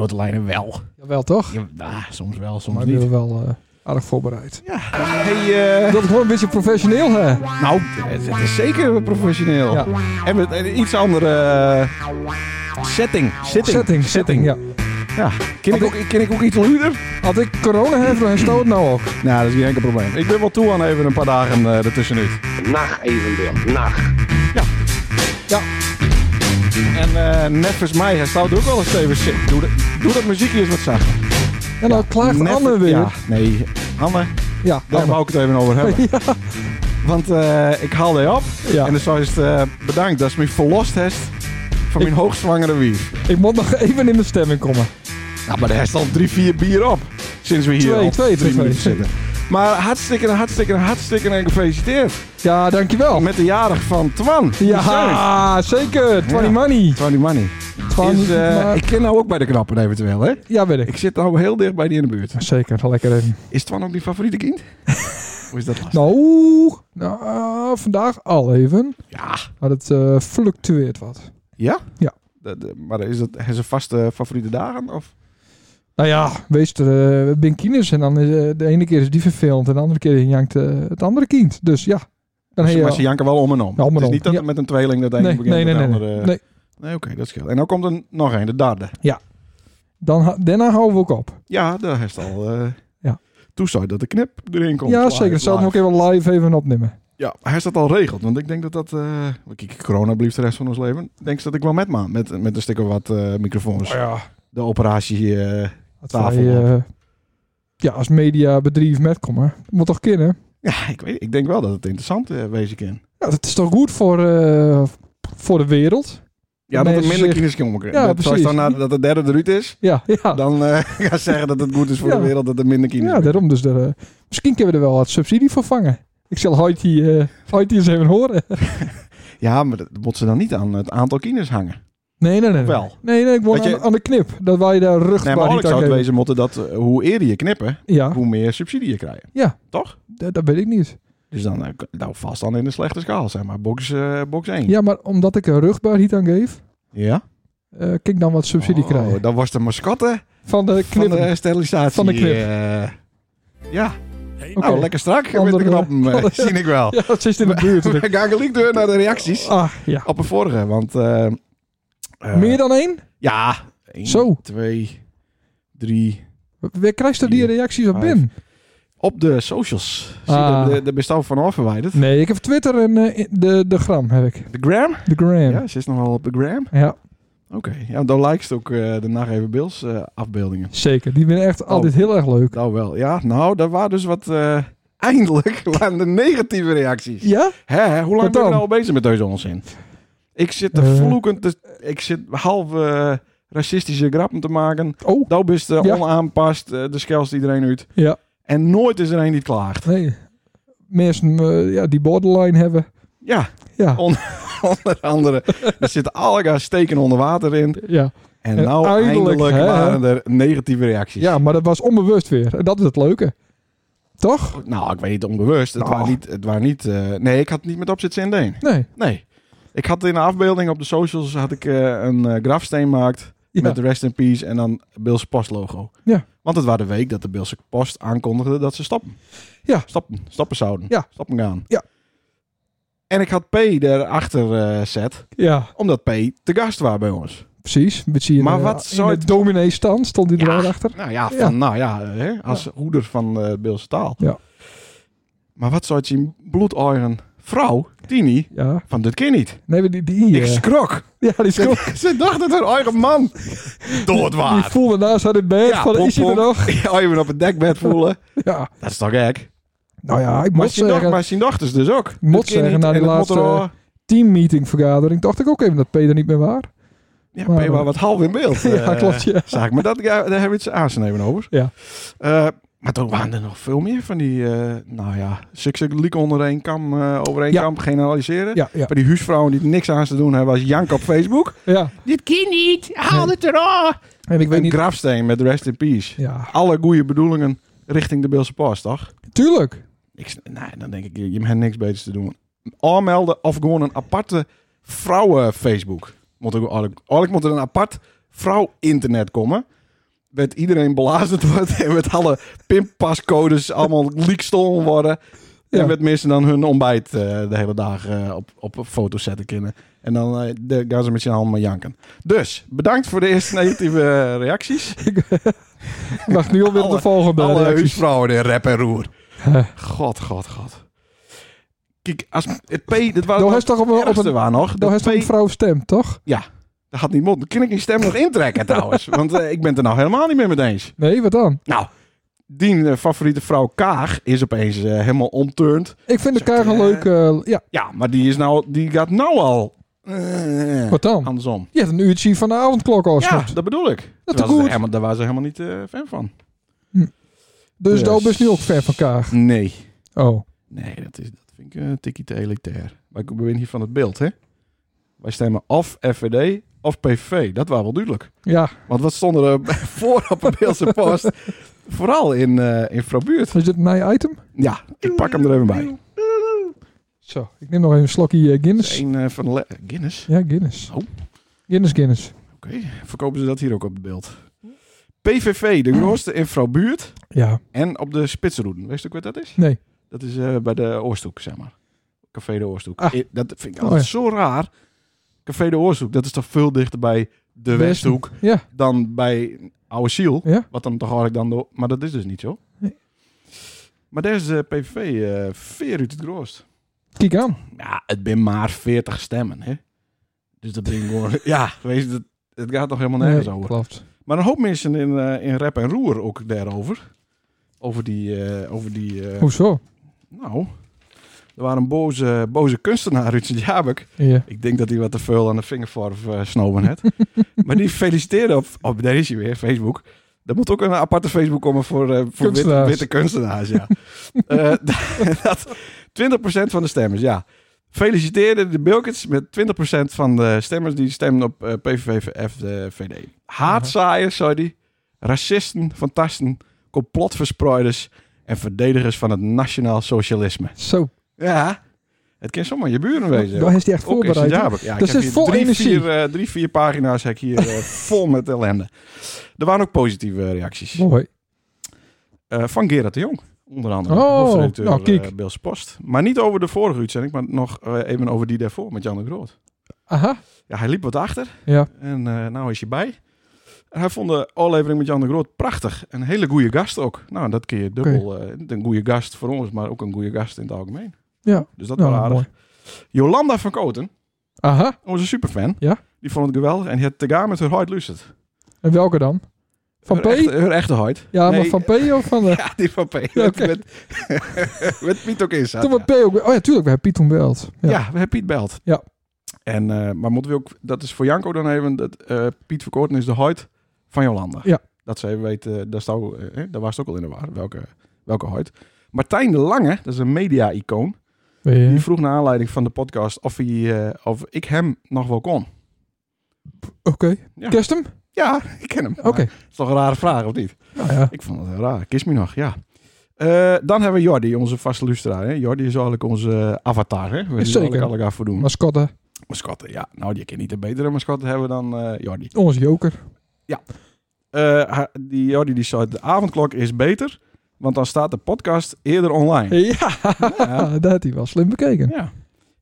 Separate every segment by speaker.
Speaker 1: Dat lijkt me wel.
Speaker 2: Jawel, toch?
Speaker 1: Ja, nou, soms wel, soms
Speaker 2: maar nu
Speaker 1: niet.
Speaker 2: wel eh, aardig voorbereid.
Speaker 1: Hey, eh,
Speaker 2: Dat is gewoon een beetje professioneel, hè?
Speaker 1: nou, het, het is zeker professioneel.
Speaker 2: Ja.
Speaker 1: En met een iets andere eh, setting. Sitting.
Speaker 2: Setting, setting, ja.
Speaker 1: Ja. Ken, ik ook, ken ik ook iets luider?
Speaker 2: Had ik corona hebben en stoot nou ook.
Speaker 1: Nou, dat is geen enkel probleem. Ik ben wel toe aan even een paar dagen eh ertussenuit.
Speaker 3: Nacht evenbeeld. Nacht.
Speaker 2: Ja,
Speaker 1: En eh Neffers mij, hij staat ook wel eens even zitten. Doe, dat- doe dat muziekje eens wat zachter.
Speaker 2: en dan klaagt
Speaker 1: Neffers-
Speaker 2: Anne weer.
Speaker 1: Ja,
Speaker 2: Ja,
Speaker 1: nee, Anne, daar
Speaker 2: Anne.
Speaker 1: wou ik het even over hebben. Want eh, ik haalde je op
Speaker 2: Ja.
Speaker 1: en dan zei ze eh, bedankt dat ze me verlost heeft van mijn hoogzwangere wief.
Speaker 2: Ik moet nog even in de stemming komen.
Speaker 1: Nou, maar daar is al drie, vier bier op sinds we hier
Speaker 2: Twee,
Speaker 1: al
Speaker 2: twee,
Speaker 1: drie
Speaker 2: twee,
Speaker 1: minuten
Speaker 2: twee.
Speaker 1: zitten. Maar hartstikke, hartstikke, hartstikke en gefeliciteerd
Speaker 2: Ja, dankjewel.
Speaker 1: met de jarig van Twan.
Speaker 2: Ja, zeker. Twenty
Speaker 1: Ja.
Speaker 2: money.
Speaker 1: Twan die money.
Speaker 2: Twan,
Speaker 1: Is, eh,
Speaker 2: maar-
Speaker 1: Ik ken nou ook bij de knappen eventueel, hè?
Speaker 2: Ja, weet ik.
Speaker 1: Ik zit nou heel dicht bij die in de buurt.
Speaker 2: Zeker, lekker even.
Speaker 1: Is Twan ook die favoriete kind? Hoe is dat lastig?
Speaker 2: Nou, nou eh, vandaag al even.
Speaker 1: Ja.
Speaker 2: Maar het eh, fluctueert wat.
Speaker 1: Ja?
Speaker 2: Ja.
Speaker 1: Dat, eh, maar is dat zijn vaste favoriete dagen? Of?
Speaker 2: Nou ja, wees er eh, binkines en dan is, eh, de ene keer is die verfilmd en de andere keer jankt eh, het andere kind. Dus ja. Dan
Speaker 1: Dus-
Speaker 2: heb je
Speaker 1: maar ze janken wel om en om.
Speaker 2: Ja, om en
Speaker 1: het is
Speaker 2: om.
Speaker 1: niet dat
Speaker 2: Ja.
Speaker 1: het met een tweeling dat de ene
Speaker 2: nee,
Speaker 1: begint
Speaker 2: nee, nee,
Speaker 1: met
Speaker 2: nee,
Speaker 1: de
Speaker 2: nee.
Speaker 1: andere.
Speaker 2: nee.
Speaker 1: Nee, oké, dat scheelt. En dan komt er nog een, de derde.
Speaker 2: Dan, ha- daarna houden we ook op.
Speaker 1: Ja, daar is het al. eh
Speaker 2: Ja.
Speaker 1: Toen zou je dat de knip erin komt.
Speaker 2: ja,
Speaker 1: Live,
Speaker 2: zeker. Dat zal ik
Speaker 1: live.
Speaker 2: ook even live even opnemen.
Speaker 1: Ja, hij is dat al regeld. Want ik denk dat dat... eh kijk, corona blijft de rest van ons leven. Ik denk ze dat ik wel met me met, met een stuk of wat eh, microfoons.
Speaker 2: Oh ja.
Speaker 1: De operatie... eh,
Speaker 2: Dat
Speaker 1: Tafel
Speaker 2: wij, eh, ja, als mediabedrijf metkomen. Moet toch kennen?
Speaker 1: ja, ik weet Ik denk wel dat het interessant eh, wezen kan.
Speaker 2: Ja, dat is toch goed voor, eh, voor de wereld?
Speaker 1: Ja, dat er
Speaker 2: Mensen
Speaker 1: minder
Speaker 2: zich-
Speaker 1: kinderen komen.
Speaker 2: Ja,
Speaker 1: dat, zoals
Speaker 2: precies.
Speaker 1: dan na- dat de derde eruit is.
Speaker 2: Ja, ja.
Speaker 1: dan eh ga zeggen dat het goed is voor
Speaker 2: Ja.
Speaker 1: de wereld dat er minder kinderen
Speaker 2: Ja,
Speaker 1: zijn.
Speaker 2: daarom. Dus er, eh, misschien kunnen we er wel wat subsidie voor vangen. Ik zal Hoyt die, eh, Hoyt die eens even horen.
Speaker 1: Ja, maar dat moet ze dan niet aan het aantal kinderen hangen.
Speaker 2: Nee, nee, nee.
Speaker 1: Wel.
Speaker 2: Nee, nee, ik word
Speaker 1: Dat je-
Speaker 2: aan, aan de knip. Dat wij daar rug
Speaker 1: Nee, maar
Speaker 2: waar
Speaker 1: eigenlijk
Speaker 2: niet aan
Speaker 1: zou het
Speaker 2: geven.
Speaker 1: wezen moeten dat eh, hoe eerder je knippen,
Speaker 2: Ja,
Speaker 1: hoe meer subsidie je krijgt.
Speaker 2: Ja.
Speaker 1: Toch?
Speaker 2: d- dat weet ik niet.
Speaker 1: Dus dan eh, nou, vast dan in de slechte schaal, zeg maar. Box, eh box 1.
Speaker 2: Ja, maar omdat ik een rugbaarheid aan geef,
Speaker 1: Ja?
Speaker 2: eh kan ik dan wat subsidie
Speaker 1: Oh,
Speaker 2: krijgen.
Speaker 1: Dat was de mascotte
Speaker 2: Van de
Speaker 1: van
Speaker 2: knip.
Speaker 1: de sterilisatie.
Speaker 2: Van de knip.
Speaker 1: eh, ja.
Speaker 2: Oké.
Speaker 1: Nou, lekker strak met de
Speaker 2: Andere-
Speaker 1: knappen, eh,
Speaker 2: andere-
Speaker 1: zie ik wel.
Speaker 2: Ja, dat zit in de buurt.
Speaker 1: We gaan gelijk door naar de reacties
Speaker 2: Ah, ja.
Speaker 1: op de vorige, want... eh, eh,
Speaker 2: Meer dan één?
Speaker 1: Ja. 1,
Speaker 2: Zo.
Speaker 1: 2, 3,
Speaker 2: Waar krijgt er die
Speaker 1: Vier,
Speaker 2: reacties op
Speaker 1: vijf.
Speaker 2: binnen?
Speaker 1: Op de socials. Zie je,
Speaker 2: Ah.
Speaker 1: de, de bestaan vanaf verwijderd.
Speaker 2: Nee, ik heb Twitter en eh, de, de gram heb ik.
Speaker 1: De gram?
Speaker 2: De gram.
Speaker 1: Ja, ze is nogal op de gram.
Speaker 2: ja.
Speaker 1: Oké. Ja, dan likes het ook eh de Nacht Even Bills eh, afbeeldingen.
Speaker 2: Zeker, die ben
Speaker 1: Oh.
Speaker 2: echt altijd heel erg leuk.
Speaker 1: Nou wel. Ja, nou, daar waren dus wat... eh, eindelijk waren de negatieve reacties.
Speaker 2: Ja?
Speaker 1: Hè, hè, hoe lang ben
Speaker 2: Wat
Speaker 1: je
Speaker 2: dan?
Speaker 1: nou al bezig met deze onzin? Ik zit te
Speaker 2: Eh.
Speaker 1: vloekend... te- ik zit half eh, racistische grappen te maken.
Speaker 2: Oh,
Speaker 1: Nou best eh,
Speaker 2: Ja.
Speaker 1: onaanpast. eh, de schelst iedereen uit.
Speaker 2: ja.
Speaker 1: En nooit is er een die het klaagt.
Speaker 2: Nee. Mensen eh, ja, die borderline hebben.
Speaker 1: Ja,
Speaker 2: Ja.
Speaker 1: On- onder andere. er zitten allerlei steken onder water in.
Speaker 2: Ja.
Speaker 1: En
Speaker 2: En
Speaker 1: nou eindelijk,
Speaker 2: Eh, eindelijk, hè?
Speaker 1: waren er negatieve reacties.
Speaker 2: ja, maar dat was onbewust weer. En dat is het leuke. Toch?
Speaker 1: Nou, ik weet niet onbewust. Het
Speaker 2: Nou.
Speaker 1: waren niet... Het waren niet eh, nee, ik had het niet met opzet zin deen.
Speaker 2: Nee.
Speaker 1: Nee. Ik had in de afbeelding op de socials had ik, eh, een eh, grafsteen gemaakt
Speaker 2: Ja.
Speaker 1: met Rest in Peace en dan Bilse Post logo.
Speaker 2: Ja.
Speaker 1: Want het was de week dat de Bilse Post aankondigde dat ze stappen.
Speaker 2: Ja.
Speaker 1: Stappen. Stappen zouden.
Speaker 2: Ja.
Speaker 1: Stappen gaan.
Speaker 2: Ja.
Speaker 1: En ik had P erachter eh zet,
Speaker 2: Ja,
Speaker 1: omdat P te gast was bij ons.
Speaker 2: precies. Een beetje in,
Speaker 1: Maar
Speaker 2: eh,
Speaker 1: wat
Speaker 2: in
Speaker 1: zou
Speaker 2: het
Speaker 1: het-
Speaker 2: dominee stand stond die
Speaker 1: Ja.
Speaker 2: er achter.
Speaker 1: Nou ja, van,
Speaker 2: Ja.
Speaker 1: Nou ja hè, als hoeder van eh Beelse taal.
Speaker 2: Ja.
Speaker 1: Maar wat zou het zien bloedeigen vrouw, Tini,
Speaker 2: Ja.
Speaker 1: van dit kind niet.
Speaker 2: Nee, maar die... die
Speaker 1: Ik
Speaker 2: eh,
Speaker 1: schrok.
Speaker 2: ja, die, school,
Speaker 1: Ze dacht dat haar eigen man dood
Speaker 2: die
Speaker 1: was.
Speaker 2: voelde naast haar in bed
Speaker 1: Ja,
Speaker 2: van,
Speaker 1: pom,
Speaker 2: is hij er
Speaker 1: pom.
Speaker 2: nog?
Speaker 1: Ja, even op het dekbed voelen.
Speaker 2: Ja.
Speaker 1: Dat is toch gek?
Speaker 2: Nou ja, ik
Speaker 1: Maar
Speaker 2: moet
Speaker 1: zijn, doch-
Speaker 2: zeggen,
Speaker 1: maar zijn dochters dus ook. Dat
Speaker 2: moet
Speaker 1: kind
Speaker 2: zeggen,
Speaker 1: niet.
Speaker 2: na die
Speaker 1: En eh, dat
Speaker 2: laatste-
Speaker 1: moet er al-
Speaker 2: teammeeting vergadering, dacht ik ook even dat Peter niet meer waar.
Speaker 1: Ja,
Speaker 2: maar-
Speaker 1: ben je wel wat half in beeld.
Speaker 2: ja,
Speaker 1: eh,
Speaker 2: klopt, ja.
Speaker 1: Zaak, maar dat, daar hebben we iets aan te nemen over.
Speaker 2: Ja.
Speaker 1: Eh, maar toen waren er nog veel meer van die, eh, nou ja, succes lieken onder één kam, eh, over één
Speaker 2: Ja.
Speaker 1: kam generaliseren.
Speaker 2: Ja, ja,
Speaker 1: Van die huisvrouwen die niks aan te doen hebben als Jank op Facebook.
Speaker 2: ja.
Speaker 1: Dit kind niet, haal het eraf!
Speaker 2: En ik weet
Speaker 1: Een
Speaker 2: niet...
Speaker 1: grafsteen met rest in peace.
Speaker 2: Ja,
Speaker 1: Alle goede bedoelingen richting de Beelse Post, toch?
Speaker 2: tuurlijk.
Speaker 1: Ik, nee, dan denk ik, je je hebt niks beters te doen. Aanmelden of gewoon een aparte vrouwen-Facebook. Moet ook, eigenlijk, eigenlijk moet er een apart vrouw-internet komen. werd iedereen belazerd wordt en met alle pinpascodes allemaal leakstolen worden.
Speaker 2: Ja.
Speaker 1: En met mensen dan hun ontbijt eh, de hele dag eh, op, op een foto zetten kunnen. En dan eh, de, gaan ze met z'n allen maar janken. Dus, bedankt voor de eerste negatieve eh, reacties.
Speaker 2: Ik wacht nu alweer op de
Speaker 1: Alle-
Speaker 2: volgende
Speaker 1: Alle
Speaker 2: reacties.
Speaker 1: huisvrouwen in rep en roer.
Speaker 2: Huh.
Speaker 1: God, god, god. Kijk, als het P... Dat was
Speaker 2: Daar
Speaker 1: het
Speaker 2: heeft toch op, een- op
Speaker 1: ergste
Speaker 2: een,
Speaker 1: waar nog.
Speaker 2: daar
Speaker 1: Dat
Speaker 2: heeft toch een
Speaker 1: P...
Speaker 2: vrouw stem, toch?
Speaker 1: Dat had niet mond. Dan kan ik die stem nog intrekken trouwens. Want eh, ik ben het er nou helemaal niet meer mee eens.
Speaker 2: Nee, wat dan?
Speaker 1: Nou, die eh, favoriete vrouw Kaag is opeens eh, helemaal omturnd.
Speaker 2: Ik vind de
Speaker 1: Zegt,
Speaker 2: Karel
Speaker 1: eh,
Speaker 2: leuk. eh, ja,
Speaker 1: Ja, maar die, is nou, die gaat nou al eh,
Speaker 2: wat dan?
Speaker 1: andersom.
Speaker 2: Je hebt een uurtje van de avondklok al
Speaker 1: Ja,
Speaker 2: snort.
Speaker 1: dat bedoel ik.
Speaker 2: Dat
Speaker 1: Terwijl
Speaker 2: is
Speaker 1: ze
Speaker 2: goed.
Speaker 1: helemaal- daar waren ze helemaal niet eh, fan van.
Speaker 2: Dus
Speaker 1: Ja.
Speaker 2: daar ben je nu ook ver van Kaag.
Speaker 1: Nee.
Speaker 2: Oh,
Speaker 1: Nee, dat, is, dat vind ik eh, een tikkie te elitair. Maar ik ben hier van het beeld, hè? Wij stemmen of FVD of PV. Dat was wel duidelijk.
Speaker 2: ja.
Speaker 1: Want wat stond er eh, voor op de Beeldse post? Vooral in, eh in Frabuurt.
Speaker 2: Is dit mijn item?
Speaker 1: Ja, ik pak hem er even bij.
Speaker 2: Zo, ik neem nog even een slokje eh, Guinness.
Speaker 1: Een eh, van de le- Guinness.
Speaker 2: Ja, Guinness.
Speaker 1: Oh.
Speaker 2: Guinness, Guinness.
Speaker 1: Oké, verkopen ze dat hier ook op het beeld. PVV, de grootste in Vrouwbuurt
Speaker 2: Ja,
Speaker 1: en op de spitsroeden. Weet je ook wat dat is?
Speaker 2: nee.
Speaker 1: Dat is eh, bij de Oorstoek, zeg maar. Café de Oorstoek.
Speaker 2: Ah.
Speaker 1: Eh, Dat vind ik
Speaker 2: Oh,
Speaker 1: altijd zo raar. Café de Oorstoek, dat is toch veel dichter bij de
Speaker 2: Westen.
Speaker 1: Westhoek
Speaker 2: Ja,
Speaker 1: dan bij Oude Ziel.
Speaker 2: Ja.
Speaker 1: Wat dan toch eigenlijk dan... door- Maar dat is dus niet zo.
Speaker 2: Nee.
Speaker 1: Maar daar is de PVV eh veer uit het grootst.
Speaker 2: kijk aan.
Speaker 1: Ja, het ben maar 40 stemmen, hè. Dus dat ben ik gewoon... ja, weet je, dat, het gaat toch helemaal nergens over.
Speaker 2: klopt.
Speaker 1: Maar een hoop mensen in, eh, in rap en roer ook daarover. Over die... eh, over die eh,
Speaker 2: Hoezo?
Speaker 1: nou, er waren een boze, boze kunstenaar, Richard Jabek.
Speaker 2: Ja.
Speaker 1: Ik denk dat hij wat te veel aan de vingervorf eh snoven had. maar die feliciteerde op, op... Daar is hij weer, Facebook. Er moet ook een aparte Facebook komen voor, eh, voor wit-
Speaker 2: Kunstenaars.
Speaker 1: witte kunstenaars, ja. Eh, dat, 20% van de stemmers, ja. Feliciteerde de Bilkits met 20% van de stemmers die stemden op eh, PVV, F, eh, VD. Haatzaaiers, zei die. Racisten, fantasten, complotverspreiders en verdedigers van het nationaal socialisme.
Speaker 2: Zo,
Speaker 1: Ja, het kan zomaar je buren wezen.
Speaker 2: daar is hij echt
Speaker 1: Ook in
Speaker 2: voorbereid. hè?
Speaker 1: Sint-Jabek. Ja,
Speaker 2: Dat
Speaker 1: ik heb
Speaker 2: zit
Speaker 1: hier
Speaker 2: vol
Speaker 1: drie,
Speaker 2: energie.
Speaker 1: Vier, eh, drie, vier pagina's heb ik hier eh, vol met ellende. Er waren ook positieve reacties.
Speaker 2: Mooi.
Speaker 1: Eh, van Gerard de Jong, onder andere.
Speaker 2: Oh,
Speaker 1: hoofdredacteur
Speaker 2: nou, kijk.
Speaker 1: eh, Beels Post. Maar niet over de vorige uitzending, maar nog eh, even over die daarvoor met Jan de Groot.
Speaker 2: Aha.
Speaker 1: Ja, hij liep wat achter.
Speaker 2: Ja.
Speaker 1: En eh nou is hij bij. En hij vond de aflevering met Jan de Groot prachtig. Een hele goede gast ook. Nou, dat kun je dubbel. eh, een goede gast voor ons, maar ook een goede gast in het algemeen.
Speaker 2: Ja.
Speaker 1: Dus dat
Speaker 2: Nou,
Speaker 1: was aardig.
Speaker 2: mooi.
Speaker 1: Jolanda van Koten,
Speaker 2: Aha.
Speaker 1: onze superfan.
Speaker 2: Ja.
Speaker 1: Die vond het geweldig. En die had tegaan met haar hart luisterd.
Speaker 2: En welke dan? Van
Speaker 1: haar
Speaker 2: P?
Speaker 1: Echte, haar echte hart.
Speaker 2: Ja, maar
Speaker 1: eh, Nee,
Speaker 2: van P of van... de-
Speaker 1: Ja, die van P.
Speaker 2: Ja, oké.
Speaker 1: Met, met, met Piet ook in zat,
Speaker 2: Toen
Speaker 1: ja.
Speaker 2: we P ook... Oh ja, tuurlijk, we hebben Piet toen belt.
Speaker 1: Ja.
Speaker 2: Ja.
Speaker 1: we hebben Piet belt.
Speaker 2: Ja.
Speaker 1: En, eh, maar moeten we ook, dat is voor Janko dan even, dat, eh, Piet Verkoorten is de huid van Jolanda.
Speaker 2: Ja.
Speaker 1: Dat ze even weet, eh, daar, stond, eh, hè, daar was het ook al in de war, welke, welke huid. Martijn de Lange, dat is een media-icoon,
Speaker 2: Weet
Speaker 1: die
Speaker 2: je.
Speaker 1: vroeg naar aanleiding van de podcast of, hij, eh, of ik hem nog wel kon.
Speaker 2: Oké.
Speaker 1: Ja.
Speaker 2: Kerst hem?
Speaker 1: Ja, ik ken hem.
Speaker 2: Oké.
Speaker 1: Maar Dat is toch een rare vraag, of niet?
Speaker 2: Nou ja.
Speaker 1: Ik vond het heel raar. Kies me nog, ja. Eh, dan hebben we Jordi, onze vaste luisteraar. hè. Jordi is eigenlijk onze eh, avatar. Hè? We
Speaker 2: Zeker.
Speaker 1: zullen eigenlijk af voor doen.
Speaker 2: Mascotte.
Speaker 1: Mascotten, ja. Nou, je kan niet een betere mascotte hebben dan eh, Jordi.
Speaker 2: Onze joker.
Speaker 1: Eh, ha- die Jordi die zei, de avondklok is beter, want dan staat de podcast eerder online.
Speaker 2: Ja.
Speaker 1: Ja.
Speaker 2: dat had hij wel slim bekeken.
Speaker 1: Ja.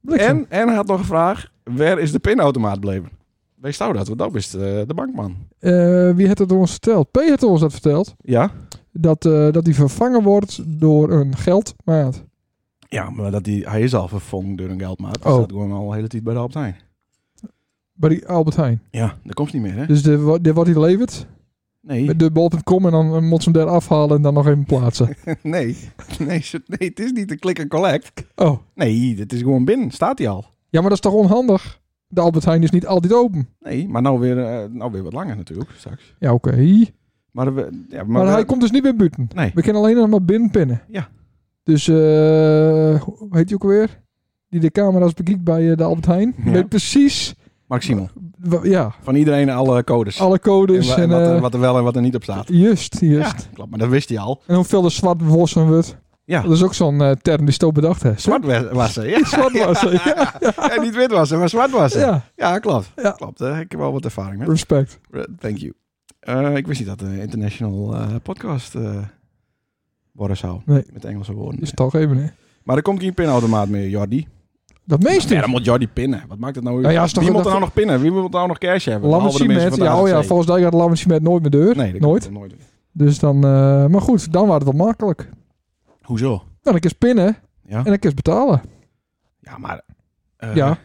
Speaker 2: Bliksem.
Speaker 1: En, en hij had nog een vraag, waar is de pinautomaat bleven? Wees nou dat, want dat is eh, de bankman.
Speaker 2: Eh, wie heeft het ons verteld? P heeft ons dat verteld.
Speaker 1: Ja?
Speaker 2: Dat, eh, dat hij vervangen wordt door een geldmaat.
Speaker 1: Ja, maar dat die, hij is al vervangen door een geldmaat. Hij
Speaker 2: Oh.
Speaker 1: staat gewoon al de hele tijd bij de Albert Heijn.
Speaker 2: Bij die Albert Heijn.
Speaker 1: Ja, dat komt niet meer, hè?
Speaker 2: Dus de, wa- de, wat hij levert,
Speaker 1: Nee,
Speaker 2: met de bol.com en dan eh, moet ze hem daar afhalen en dan nog even plaatsen.
Speaker 1: nee, nee, ze- nee, het is niet een click and collect.
Speaker 2: Oh,
Speaker 1: Nee, het is gewoon binnen, staat hij al.
Speaker 2: ja, maar dat is toch onhandig? De Albert Heijn is niet altijd open.
Speaker 1: Nee, maar nou weer, eh, nou weer wat langer natuurlijk, straks.
Speaker 2: Ja, oké.
Speaker 1: Maar, we, ja, maar,
Speaker 2: Maar,
Speaker 1: we-
Speaker 2: hij komt dus niet meer buiten.
Speaker 1: Nee.
Speaker 2: We kunnen alleen nog maar binnenpinnen.
Speaker 1: Ja.
Speaker 2: Dus, eh hoe heet die ook alweer? Die de camera's bekijkt bij eh, de Albert Heijn.
Speaker 1: Ja.
Speaker 2: Met precies,
Speaker 1: Mark Simon.
Speaker 2: wa- ja,
Speaker 1: Van iedereen alle codes.
Speaker 2: alle codes.
Speaker 1: en,
Speaker 2: En,
Speaker 1: wa- en wat,
Speaker 2: eh,
Speaker 1: er- wat er wel en wat er niet op staat.
Speaker 2: Juist, juist.
Speaker 1: Klopt, maar dat wist hij al.
Speaker 2: En hoeveel de zwart wassen wordt.
Speaker 1: Ja.
Speaker 2: Dat is ook zo'n eh, term die Stoop bedacht heeft.
Speaker 1: Zwart wa- was ze, ja.
Speaker 2: Zwart wassen, ja.
Speaker 1: En niet wit was ze, maar zwart was ze. Ja,
Speaker 2: ja.
Speaker 1: klopt. eh,
Speaker 2: Ja.
Speaker 1: klopt. Daar heb ik wel wat ervaring mee.
Speaker 2: Respect.
Speaker 1: Thank you. Eh, ik wist niet dat het een international eh, podcast eh, worden zou.
Speaker 2: Nee. Dus-
Speaker 1: Met Engelse woorden.
Speaker 2: Is het toch even, hè?
Speaker 1: Maar er komt geen pinautomaat meer, Jordi.
Speaker 2: Dat meeste.
Speaker 1: Ja, dan moet Jordi pinnen. Wat maakt het nou?
Speaker 2: Nou ja, is toch
Speaker 1: Wie moet
Speaker 2: dat-
Speaker 1: er nou nog pinnen? Wie moet nou nog cash hebben? Behalve de
Speaker 2: Lammert
Speaker 1: mensen
Speaker 2: met.
Speaker 1: van de
Speaker 2: Ja, oh ja,
Speaker 1: AZC.
Speaker 2: volgens mij gaat Lammert met nooit meer deur.
Speaker 1: Nee, dat kan
Speaker 2: nooit.
Speaker 1: ik nooit. doen.
Speaker 2: Dus dan, eh, maar goed, dan was het wel makkelijk. Nou,
Speaker 1: Hoezo?
Speaker 2: dan kun je spinnen
Speaker 1: Ja,
Speaker 2: en dan kun je betalen.
Speaker 1: ja maar... eh,
Speaker 2: Ja.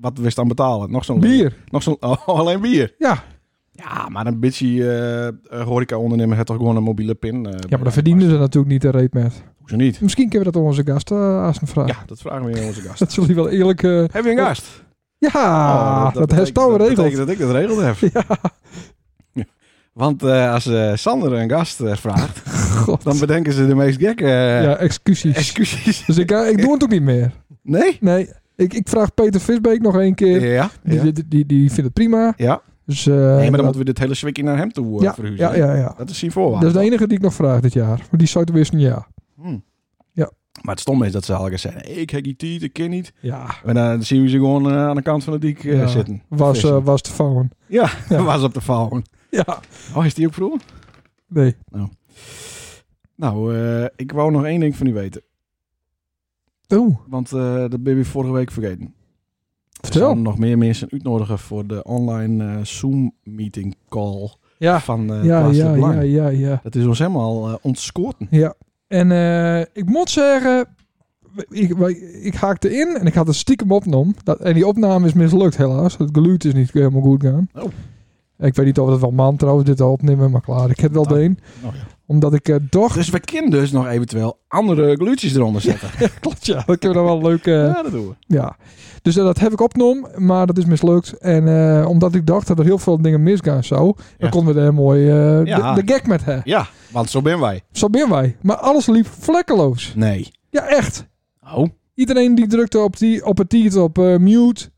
Speaker 1: Wat wist dan betalen? Nog zo'n...
Speaker 2: Bier.
Speaker 1: Nog zo'n... Oh, alleen bier?
Speaker 2: Ja.
Speaker 1: Ja, maar een beetje eh horeca-ondernemer heeft toch gewoon een mobiele pin? eh,
Speaker 2: Ja,
Speaker 1: bij
Speaker 2: maar dan
Speaker 1: de
Speaker 2: verdienen ze natuurlijk niet de reet met.
Speaker 1: gast? Hoezo niet?
Speaker 2: Misschien kunnen we dat aan onze gast eh aan vragen.
Speaker 1: Ja, dat vragen we aan onze gast.
Speaker 2: Dat zullen die wel eerlijk... eh,
Speaker 1: Heb je een gast?
Speaker 2: ja,
Speaker 1: Oh,
Speaker 2: Ah, dat,
Speaker 1: betekent-
Speaker 2: heeft nou
Speaker 1: dat
Speaker 2: regeld.
Speaker 1: betekent dat ik dat regeld heb. Ja. Want eh, als eh, Sander een gast eh, vraagt,
Speaker 2: God.
Speaker 1: dan bedenken ze de meest gekke eh,
Speaker 2: ja, excuses.
Speaker 1: excuses.
Speaker 2: dus ik, eh, ik doe het ook niet meer.
Speaker 1: Nee?
Speaker 2: Nee, ik, ik vraag Peter Visbeek nog één keer.
Speaker 1: Ja.
Speaker 2: Die,
Speaker 1: ja.
Speaker 2: die, die, die vindt het prima.
Speaker 1: Ja.
Speaker 2: Dus, eh,
Speaker 1: Nee, maar dan moeten we dit hele zwikkie naar hem toe eh,
Speaker 2: ja,
Speaker 1: verhuizen.
Speaker 2: ja, Dus
Speaker 1: hè?
Speaker 2: ja, ja.
Speaker 1: Dat is zien voorwaarde.
Speaker 2: Dat is de enige die ik nog vraag dit jaar. Maar die zou het wisten, ja.
Speaker 1: Hmm.
Speaker 2: Ja.
Speaker 1: Maar het stomme is dat ze altijd zeggen, ik heb die tiet, ik ken niet.
Speaker 2: Ja,
Speaker 1: En dan zien we ze gewoon eh, aan de kant van de dik eh,
Speaker 2: Ja.
Speaker 1: zitten.
Speaker 2: was,
Speaker 1: Vissen.
Speaker 2: eh, was te vangen.
Speaker 1: ja,
Speaker 2: ja.
Speaker 1: was op de faun.
Speaker 2: Ja,
Speaker 1: Oh, is die ook vroeg?
Speaker 2: nee.
Speaker 1: Nou, eh, ik wou nog één ding van u weten.
Speaker 2: Oeh,
Speaker 1: Want eh, dat ben je vorige week vergeten. Er
Speaker 2: vertel.
Speaker 1: zouden nog meer mensen uitnodigen voor de online eh, Zoom-meeting call
Speaker 2: Ja,
Speaker 1: van eh
Speaker 2: ja,
Speaker 1: Plaats de
Speaker 2: ja,
Speaker 1: Belang.
Speaker 2: ja, ja, ja.
Speaker 1: Dat is ons helemaal eh ontscoten.
Speaker 2: Ja. En eh, ik moet zeggen, ik, wij- ik haakte in en ik had het stiekem opgenomen. Dat, en die opname is mislukt helaas. Het geluid is niet helemaal goed gaan.
Speaker 1: Oh.
Speaker 2: Ik weet niet of het wel man trouwens dit al opnemen, maar klaar. Ik heb wel
Speaker 1: Ah.
Speaker 2: de een.
Speaker 1: Oh, ja.
Speaker 2: Omdat ik eh toch...
Speaker 1: Dus we kunnen dus nog eventueel andere glutjes eronder zetten. Ja,
Speaker 2: Klopt, ja. Dat kunnen we dan wel leuk... eh,
Speaker 1: dat doen we.
Speaker 2: Ja, dus eh, dat heb ik opgenomen, maar dat is mislukt. En eh, omdat ik dacht dat er heel veel dingen misgaan zou,
Speaker 1: Ja.
Speaker 2: dan konden we er mooi eh,
Speaker 1: Ja.
Speaker 2: de, de gek met hebben.
Speaker 1: Ja, want zo ben wij.
Speaker 2: Zo ben wij. Maar alles liep vlekkeloos.
Speaker 1: Nee.
Speaker 2: Ja, echt.
Speaker 1: Oh.
Speaker 2: Iedereen die drukte op, die, op het tiet op eh, mute.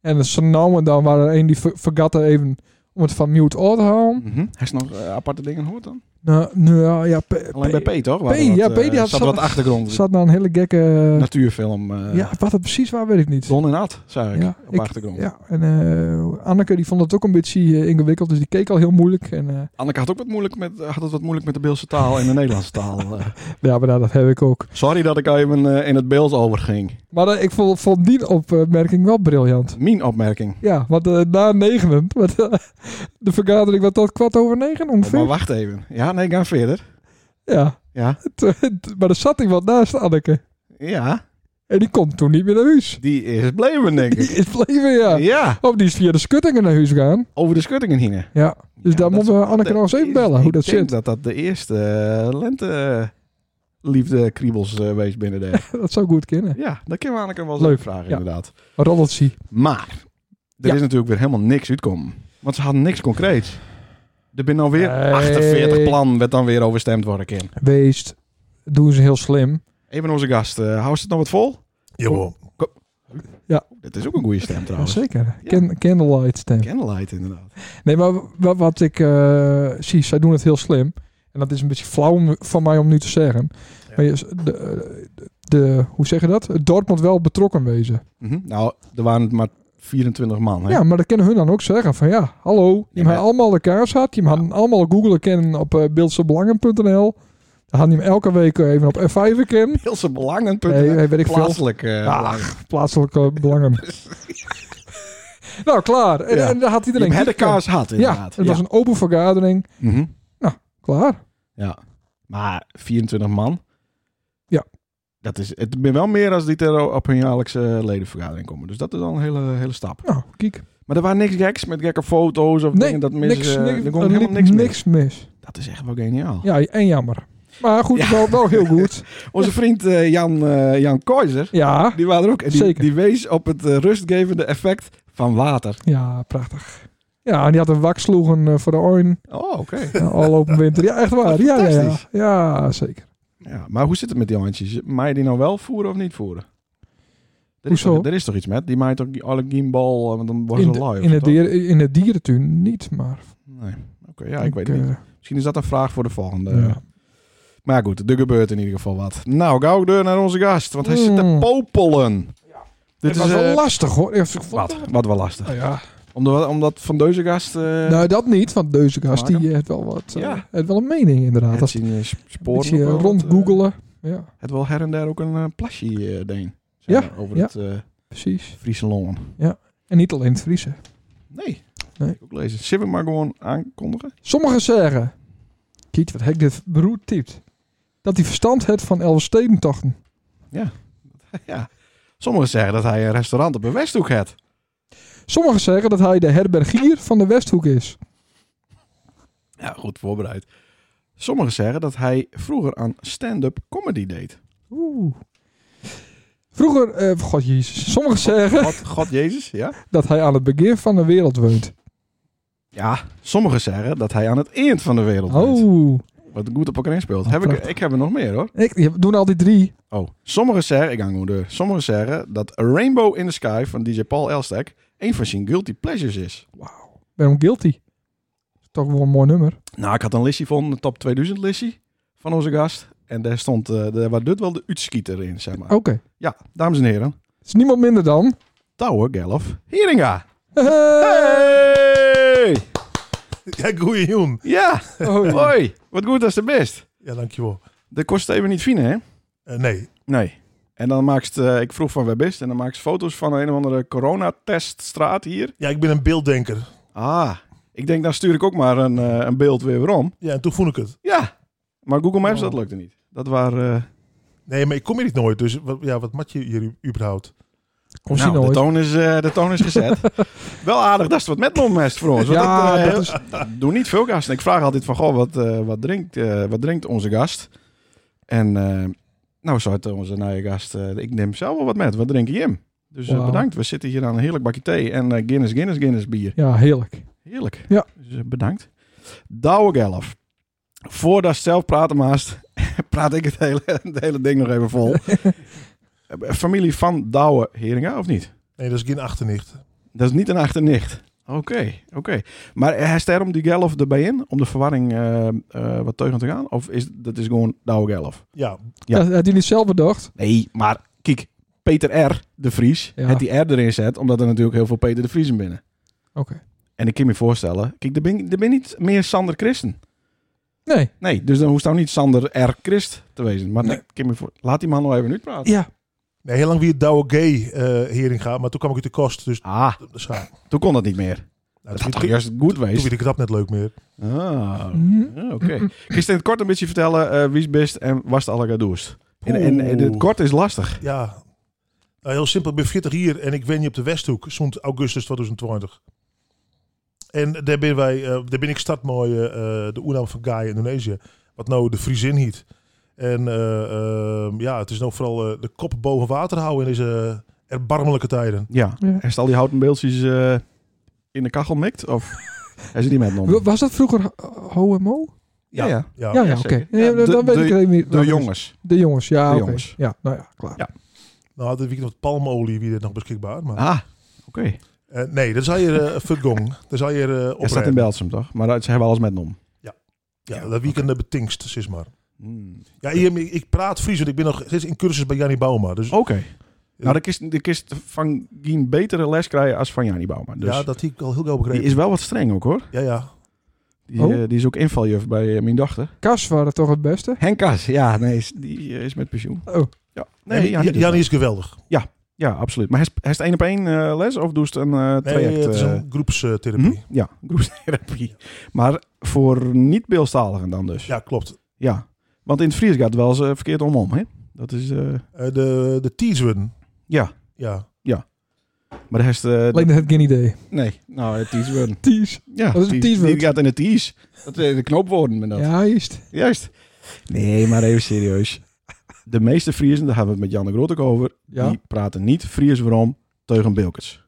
Speaker 2: En zo nou en dan waren er een die ver, vergat er even om het van mute af te houden.
Speaker 1: Mhm. Hij is nog eh, aparte dingen gehoord dan?
Speaker 2: Nou, nou ja, P-
Speaker 1: Alleen
Speaker 2: P-
Speaker 1: bij P, toch?
Speaker 2: P, ja,
Speaker 1: P
Speaker 2: P die
Speaker 1: zat
Speaker 2: had zat-
Speaker 1: wat achtergrond.
Speaker 2: zat nou een hele gekke...
Speaker 1: Natuurfilm. eh
Speaker 2: ja, wat het precies waar weet ik niet.
Speaker 1: Don en Ad, zei ik,
Speaker 2: Ja,
Speaker 1: op
Speaker 2: ik-
Speaker 1: achtergrond.
Speaker 2: Ja, en eh, Anneke die vond het ook een beetje eh, ingewikkeld, dus die keek al heel moeilijk. En, eh,
Speaker 1: Anneke had, ook wat moeilijk met, eh, had het wat moeilijk met de Beelse taal en de Nederlandse taal. eh.
Speaker 2: ja, maar nou, dat heb ik ook.
Speaker 1: Sorry dat ik even eh, in het Beels overging.
Speaker 2: Maar eh, ik vond, vond die opmerking wel briljant.
Speaker 1: Mijn opmerking.
Speaker 2: Ja, want eh, na negenen, want, eh, de vergadering was tot kwart over negen
Speaker 1: Oh, maar
Speaker 2: ongeveer.
Speaker 1: wacht even. Ja, nee, ga verder.
Speaker 2: Ja,
Speaker 1: Ja.
Speaker 2: Toen- toen- maar er zat iemand naast Anneke.
Speaker 1: Ja,
Speaker 2: En die komt toen niet meer naar huis.
Speaker 1: die is bleven, denk
Speaker 2: Die
Speaker 1: ik.
Speaker 2: is bleven, ja.
Speaker 1: Ja,
Speaker 2: Of die is via de schuttingen naar huis gegaan.
Speaker 1: over de schuttingen hingen.
Speaker 2: Ja, dus daar
Speaker 1: dat
Speaker 2: moeten we
Speaker 1: is-
Speaker 2: Anneke nog eens even
Speaker 1: is-
Speaker 2: bellen, hoe
Speaker 1: ik
Speaker 2: dat
Speaker 1: denk
Speaker 2: zit.
Speaker 1: dat dat de eerste eh, lente liefde kriebels eh, wees binnen de...
Speaker 2: dat zou goed kunnen.
Speaker 1: ja, dat kunnen we Anneke wel
Speaker 2: Leuk,
Speaker 1: eens vragen,
Speaker 2: ja.
Speaker 1: inderdaad.
Speaker 2: Rolletje.
Speaker 1: Maar, er
Speaker 2: Ja.
Speaker 1: is natuurlijk weer helemaal niks uitkomen. Want ze hadden niks concreets. Er ben alweer
Speaker 2: Nee.
Speaker 1: 48 plan werd dan weer overstemd worden, Kim.
Speaker 2: Weest, doen ze heel slim.
Speaker 1: Even onze gast, eh houdt het nog wat vol?
Speaker 4: Jawel.
Speaker 1: Dit is ook een goede stem
Speaker 2: Ja,
Speaker 1: trouwens.
Speaker 2: zeker.
Speaker 1: Ja.
Speaker 2: Can- candlelight stem.
Speaker 1: Candlelight inderdaad.
Speaker 2: Nee, maar wat, wat ik eh, zie, zij doen het heel slim. En dat is een beetje flauw om- van mij om nu te zeggen.
Speaker 4: Ja.
Speaker 2: Maar je- de, de, hoe zeg je dat? Het dorp moet wel betrokken wezen.
Speaker 1: Mhm. Nou, er waren het maar 24 man. Hè?
Speaker 2: Ja, maar dat kunnen hun dan ook zeggen van ja, hallo. Je
Speaker 1: Ja, maar-
Speaker 2: hebt allemaal de kaars had. Je
Speaker 1: Ja.
Speaker 2: mag allemaal googlen kennen op eh beeldsebelangen.nl. Dan had hij hem elke week eh, even op F5 kennen.
Speaker 1: Heelse belangen.
Speaker 2: Nee, nee, weet ik veel. Ah,
Speaker 1: Plaatselijk. eh,
Speaker 2: Ach,
Speaker 1: belangen.
Speaker 2: Plaatselijke belangen. nou, klaar. En,
Speaker 1: Ja.
Speaker 2: en daar had
Speaker 1: Je
Speaker 2: iedereen... eh,
Speaker 1: hebt de kaas had
Speaker 2: Ja,
Speaker 1: inderdaad.
Speaker 2: het was een open vergadering.
Speaker 1: Mhm.
Speaker 2: Klaar.
Speaker 1: Ja. Maar 24 man.
Speaker 2: Ja.
Speaker 1: Dat is, het ben wel meer als die ter op hun jaarlijkse ledenvergadering komen. Dus dat is al een hele, hele stap.
Speaker 2: Nou, kijk.
Speaker 1: Maar er waren niks geks met gekke foto's of
Speaker 2: Nee,
Speaker 1: dingen. Dat mis,
Speaker 2: niks,
Speaker 1: eh,
Speaker 2: niks,
Speaker 1: er kon
Speaker 2: er
Speaker 1: helemaal
Speaker 2: liep
Speaker 1: niks, mis.
Speaker 2: niks mis.
Speaker 1: Dat is echt wel geniaal.
Speaker 2: Ja, en jammer. Maar goed,
Speaker 1: Ja.
Speaker 2: wel, wel heel goed.
Speaker 1: Onze vriend eh, Jan, eh Jan Kooijzer,
Speaker 2: Ja,
Speaker 1: die waren er ook. En die,
Speaker 2: Zeker.
Speaker 1: die wees op het eh, rustgevende effect van water.
Speaker 2: ja, prachtig. Ja, en die had een waksloegen eh, voor de oren
Speaker 1: Oh, oké.
Speaker 2: eh, al open winter. Ja, echt waar. Ja, ja, ja.
Speaker 1: Fantastisch.
Speaker 2: ja, zeker.
Speaker 1: Ja, maar hoe zit het met die handjes? Maai je die nou wel voeren of niet voeren? Er is,
Speaker 2: Hoezo?
Speaker 1: toch, er is toch iets met? Die maait ook die alle gimbal, eh, want dan worden
Speaker 2: In,
Speaker 1: ze
Speaker 2: de,
Speaker 1: live.
Speaker 2: in, het
Speaker 1: toch?
Speaker 2: dier, in het dierentuin niet, maar...
Speaker 1: Nee. Oké, ja, ik weet het
Speaker 2: eh,
Speaker 1: niet. Misschien is dat een vraag voor de volgende.
Speaker 2: ja.
Speaker 1: Maar goed, er gebeurt in ieder geval wat. Nou, gauw deur naar onze gast, want hij zit te
Speaker 2: Mm.
Speaker 1: popelen. Dit
Speaker 2: Het was
Speaker 1: eh,
Speaker 2: wel lastig, hoor. Eerst-
Speaker 1: wat, wat wel lastig.
Speaker 2: Nou ja,
Speaker 1: Omdat, omdat Van Deuzengaast... eh
Speaker 2: nou, dat niet, want deze gast die
Speaker 1: Waarom?
Speaker 2: eh, heeft wel wat. eh,
Speaker 1: Ja.
Speaker 2: heeft wel een mening inderdaad.
Speaker 1: het
Speaker 2: Als
Speaker 1: zien eh,
Speaker 2: een
Speaker 1: sporen
Speaker 2: beetje
Speaker 1: op
Speaker 2: eh,
Speaker 1: wel,
Speaker 2: rond
Speaker 1: eh,
Speaker 2: googelen. Ja,
Speaker 1: het wel her en der ook een eh, plasje eh, deen.
Speaker 2: Ja,
Speaker 1: er Over
Speaker 2: ja.
Speaker 1: het eh
Speaker 2: precies.
Speaker 1: Friese longen.
Speaker 2: En niet alleen het Friese.
Speaker 1: Nee.
Speaker 2: Nee.
Speaker 1: Ik ook lezen. Zullen we maar gewoon aankondigen?
Speaker 2: Sommigen zeggen, Kiet, wat hek dit broer typt, dat hij verstand heeft van Elverstedentochten.
Speaker 1: ja. Sommigen zeggen dat hij een restaurant op een Westhoek heeft.
Speaker 2: Sommigen zeggen dat hij de herbergier van de Westhoek is.
Speaker 1: Ja, goed voorbereid. Sommigen zeggen dat hij vroeger aan stand-up comedy deed.
Speaker 2: Oeh. Vroeger, eh, god jezus, sommigen zeggen
Speaker 1: God, God Jezus, ja.
Speaker 2: dat hij aan het begin van de wereld woont.
Speaker 1: Ja, sommigen zeggen dat hij aan het eind van de wereld woont.
Speaker 2: Oh,
Speaker 1: Wat goed op elkaar speelt.
Speaker 2: Oh,
Speaker 1: heb ik,
Speaker 2: prachtig.
Speaker 1: ik heb er nog meer hoor.
Speaker 2: ik, je- we doen al die drie.
Speaker 1: Oh, sommigen zeggen, ik hang gewoon door. Sommigen zeggen dat A Rainbow in the Sky van DJ Paul Elstek een van zijn guilty pleasures is.
Speaker 2: Wauw, ik ben hem guilty. Toch wel een mooi nummer.
Speaker 1: Nou, ik had een listie van de top 2000 listie van onze gast. En daar stond, eh daar was dit wel de uitschieter in, zeg maar.
Speaker 2: Oké,
Speaker 1: Ja, dames en heren.
Speaker 2: het is niemand minder dan. Oh,
Speaker 1: Touwe Gelf Hieringa.
Speaker 2: Hey!
Speaker 1: Hey!
Speaker 4: Ja, goeie jongen.
Speaker 1: Ja,
Speaker 2: Oh,
Speaker 1: hoi. Wat goed als de best.
Speaker 4: Ja, dankjewel.
Speaker 1: Dat kost even niet vinden, hè?
Speaker 4: Eh, nee,
Speaker 1: Nee. En dan maakt ze, eh, ik vroeg van waar best, en dan maakt ze foto's van een of andere coronateststraat hier.
Speaker 4: ja, ik ben een beelddenker.
Speaker 1: Ah, ik denk dan stuur ik ook maar een, eh, een beeld weer weer om.
Speaker 4: Ja, en toen vond ik het.
Speaker 1: Ja, maar Google Maps,
Speaker 4: Oh.
Speaker 1: dat lukte niet. Dat waren... eh
Speaker 4: Nee, maar ik kom hier niet nooit, dus wat, ja, wat mat je hier u- überhaupt?
Speaker 2: Kom zien
Speaker 1: nou, de
Speaker 2: nooit.
Speaker 1: toon is, eh, de toon is gezet. Wel aardig dat is wat met nomest voor ons. want
Speaker 2: Ja,
Speaker 1: dat, eh,
Speaker 2: dat is.
Speaker 1: Doe niet veel gasten. Ik vraag altijd van, goh, wat, eh, wat, drinkt, eh, wat drinkt onze gast? En eh, nou, zo had onze nieuwe gast, eh, ik neem zelf wel wat met. Wat drink je hem? Dus eh,
Speaker 2: Wauw.
Speaker 1: bedankt. We zitten hier aan een heerlijk bakje thee en eh, Guinness, Guinness, Guinness bier.
Speaker 2: Ja, heerlijk.
Speaker 1: Heerlijk.
Speaker 2: Ja.
Speaker 1: Dus eh, bedankt. Douwe Gelf. Voordat ze zelf praten maast, praat ik het hele, het hele ding nog even vol. Familie van Douwe Heringa, of niet?
Speaker 4: Nee, dat is geen achternicht.
Speaker 1: Dat is niet een achternicht. Oké, oké. Maar hij staat om die Gelf erbij in? Om de verwarring eh, eh, wat teugen te gaan? Of is dat is gewoon Douwe Gelf?
Speaker 4: Ja,
Speaker 1: Ja.
Speaker 2: Dat had hij niet zelf bedacht.
Speaker 1: Nee, maar kijk. Peter R. de Vries.
Speaker 2: Ja.
Speaker 1: Het die R erin zet, omdat er natuurlijk heel veel Peter de Vriezen binnen.
Speaker 2: Oké.
Speaker 1: En ik kan me voorstellen, kijk, er ben, er ben niet meer Sander Christen.
Speaker 2: Nee.
Speaker 1: Nee, dus dan hoeft nou niet Sander R. Christ te wezen. Maar
Speaker 2: Nee.
Speaker 1: ik kan me voor... laat die man nog even uitpraten.
Speaker 2: Ja.
Speaker 4: nee, heel lang wie het Douwe Gay eh hierin gaat, maar toen kwam ik uit de kost, dus
Speaker 1: Ah,
Speaker 4: dat is gaar.
Speaker 1: toen kon dat niet meer.
Speaker 4: Nou,
Speaker 1: Dat
Speaker 4: toen
Speaker 1: had toch
Speaker 4: werd-
Speaker 1: eerst goed
Speaker 4: toen
Speaker 1: wezen.
Speaker 4: werd ik het net leuk meer.
Speaker 1: Ah,
Speaker 2: Mhm.
Speaker 1: ja, oké. Kun je in het kort een beetje vertellen eh, wie is best en was het alle gadoest? En, en, en het
Speaker 4: Oeh.
Speaker 1: kort is lastig.
Speaker 4: Ja, Nou, heel simpel. Ik ben 40 hier en ik wen je op de Westhoek sinds augustus 2020. En daar ben, wij, eh, daar ben ik startmooi eh, eh, de oernaam van Gaia Indonesië. Wat nou de Friesin heet. En eh, eh, ja, het is nou vooral eh, de kop boven water houden in deze erbarmelijke tijden.
Speaker 1: Ja.
Speaker 2: Ja.
Speaker 1: Hij al die houten beeldjes eh, in de kachel mikt? Of hij zit niet met
Speaker 2: Wa-
Speaker 1: non?
Speaker 2: Was dat vroeger ho- HOMO?
Speaker 1: Ja, ja.
Speaker 2: Ja,
Speaker 4: Ja,
Speaker 2: ja,
Speaker 1: Oh, ja,
Speaker 2: oké.
Speaker 1: zeker.
Speaker 2: Nee,
Speaker 1: Ja,
Speaker 2: dan-
Speaker 1: de-
Speaker 2: dan weet
Speaker 1: de-
Speaker 2: ik het even niet.
Speaker 1: De jongens.
Speaker 2: De jongens, ja.
Speaker 1: De
Speaker 2: oké.
Speaker 1: jongens.
Speaker 2: Ja, nou ja, klaar.
Speaker 1: Ja.
Speaker 4: nou hadden we wat palmolie, wie dit nog beschikbaar. Maar,
Speaker 1: Ah, oké.
Speaker 4: Eh, nee, daar zou je eh vergong. Daar zou je eh
Speaker 1: Hij
Speaker 4: op
Speaker 1: staat in Belsum, toch? Maar dat- ze hebben alles met nom.
Speaker 4: Ja, dat weekend eh, betingst, zeg maar.
Speaker 1: Hmm.
Speaker 4: Ja, hier- ik, ik praat Fries, want ik ben nog steeds in cursus bij Jannie Bauma. Dus
Speaker 1: Oké. Nou, de kist, de kist van Gien betere les krijgen als van Jani Bouwman. Dus
Speaker 4: ja, dat heb ik al heel gauw
Speaker 1: die
Speaker 4: begrepen.
Speaker 1: is wel wat streng ook, hoor.
Speaker 4: Ja, ja.
Speaker 1: Die,
Speaker 2: Oh.
Speaker 1: eh, die is ook invaljuf bij eh, mijn dochter.
Speaker 2: Kas waren toch het beste?
Speaker 1: Henk Kas, ja, nee, is- die eh, is met pensioen. Ja,
Speaker 2: Oh,
Speaker 1: nee,
Speaker 4: Nee,
Speaker 1: Jannie
Speaker 4: Jannie
Speaker 1: doet dat.
Speaker 4: is geweldig.
Speaker 1: Ja, absoluut. Maar hij is- hij is het één op één eh, les of doet het een eh
Speaker 4: Nee,
Speaker 1: traject?
Speaker 4: het is
Speaker 1: eh,
Speaker 4: een groepstherapie.
Speaker 1: hm? Ja, groepstherapie. Maar voor niet-beeldstaligen dan dus?
Speaker 4: Ja, klopt.
Speaker 1: Ja. Want in het Fries gaat het wel eens eh, verkeerd omom, hè? Dat is... eh,
Speaker 4: Eh, de de Teeswin.
Speaker 1: ja,
Speaker 4: Ja.
Speaker 1: maar de rest... eh,
Speaker 2: alleen dat heb ik geen idee.
Speaker 1: nee, nou, het is wel-
Speaker 2: Ties.
Speaker 1: Ja,
Speaker 2: Dat is een
Speaker 1: die-
Speaker 2: teasword.
Speaker 1: Die gaat in het tees. Dat is de knoopwoorden met dat.
Speaker 2: Ja, juist.
Speaker 1: Juist. Nee, maar even serieus. De meeste Friesen, daar hebben we het met Jan de Groot ook over,
Speaker 2: Ja.
Speaker 1: die praten niet Fries waarom Teugen Bilkers.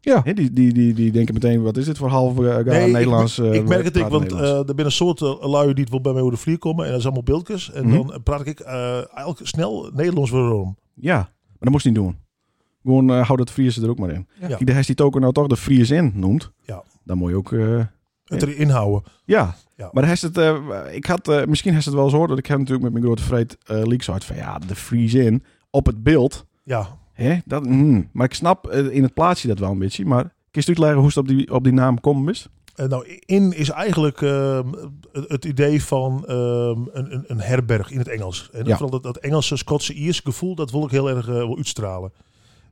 Speaker 2: Ja.
Speaker 1: Hè, die, die, die, die denken meteen, wat is dit voor halve eh,
Speaker 4: Nee, ik-
Speaker 1: Nederlands? eh,
Speaker 4: ik merk het ik,
Speaker 1: praten
Speaker 4: want
Speaker 1: Nederlands.
Speaker 4: eh, er ben een soort eh, lui die het wel bij mij over de vlier komen. En dat is allemaal bilkers. En
Speaker 1: Mhm.
Speaker 4: dan praat ik eh, eigenlijk snel Nederlands waarom.
Speaker 1: Ja, maar dat moest je niet doen. Gewoon eh, houd het Friese er ook maar in.
Speaker 2: Ja.
Speaker 1: Kijk, de die token nou toch de Fries in noemt,
Speaker 4: Ja.
Speaker 1: dan moet je ook... eh,
Speaker 4: Het erin houden.
Speaker 1: Ja.
Speaker 4: Ja.
Speaker 1: Maar heeft het, eh, ik had, eh, misschien heeft het wel eens gehoord, want ik heb natuurlijk met mijn grote vreed eh leaks uit van ja, de Fries in op het beeld. hm.
Speaker 4: Ja.
Speaker 1: Hè? Dat, mm. Maar ik snap eh, in het plaatsje dat wel een beetje, maar je uitleggen hoe het op die, op die naam komen is?
Speaker 4: Eh, nou, in is eigenlijk ehm, het, het idee van ehm, een, een, een herberg in het Engels. En
Speaker 1: Ja.
Speaker 4: vooral dat, dat Engelse, Schotse, Ierse gevoel, dat wil ik heel erg eh, wil uitstralen.